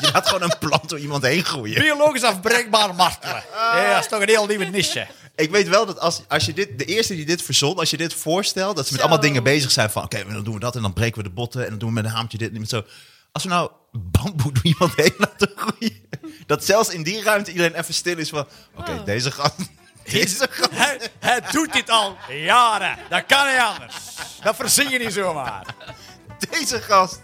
C: Je laat gewoon een plant door iemand heen groeien.
B: Biologisch afbreekbaar martelen. Ja, dat is toch een heel nieuwe niche.
C: Ik weet wel dat als, als je dit, de eerste die dit verzon, als je dit voorstelt, dat ze met
D: Zo.
C: allemaal dingen bezig zijn van, oké, dan doen we dat en dan breken we de botten en dan doen we met een haamtje dit en met zo. Als we nou bamboe door iemand heen laten groeien, dat zelfs in die ruimte iedereen even stil is van, oké,
D: Wow.
C: deze gast, deze gast.
B: Hij, hij doet dit al jaren. Dat kan niet anders. Dat verzin je niet zomaar.
C: Deze gast,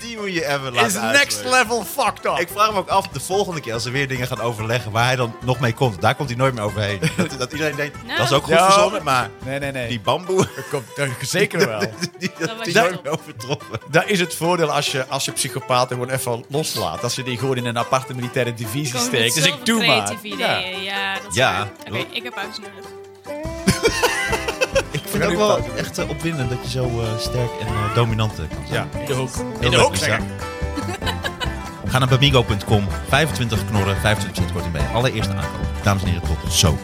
C: die moet je even laten
B: Is
C: uitleggen.
B: next level fucked up.
C: Ik vraag me ook af, de volgende keer als ze weer dingen gaan overleggen, waar hij dan nog mee komt. Daar komt hij nooit meer overheen. Dat, dat iedereen denkt,
D: Nou.
C: dat is ook goed
B: Ja.
C: verzonnen, maar
B: Nee, nee, nee.
C: die bamboe,
B: Dat komt dat- zeker wel.
C: die, dat
D: was
C: die
D: je
C: nooit
D: top.
C: meer overtroffen.
B: Dat is het voordeel als je, als je psychopaten gewoon even loslaat. Als je die gewoon in een aparte militaire divisie
D: Komen met
B: steekt. Dus
D: zoveel
B: ik doe maar.
D: creatieve
B: Ja.
D: ideeën. Ja, dat is
C: Ja.
D: waar. Oké, ik heb pauze nodig.
C: Ik vind
B: gaan
C: het ook
B: nu
C: wel
B: pauze.
C: echt eh, opwindend dat je zo eh, sterk en eh, dominant eh, kan zijn.
B: Ja, in de hoek. In
C: Heel
B: de
C: leuk
B: hoek,
C: is
B: zeg ik.
C: dat. Ga naar bamigo.com, 25 knorren, 25% korting bij je allereerste aankoop. Dames en heren, tot zo.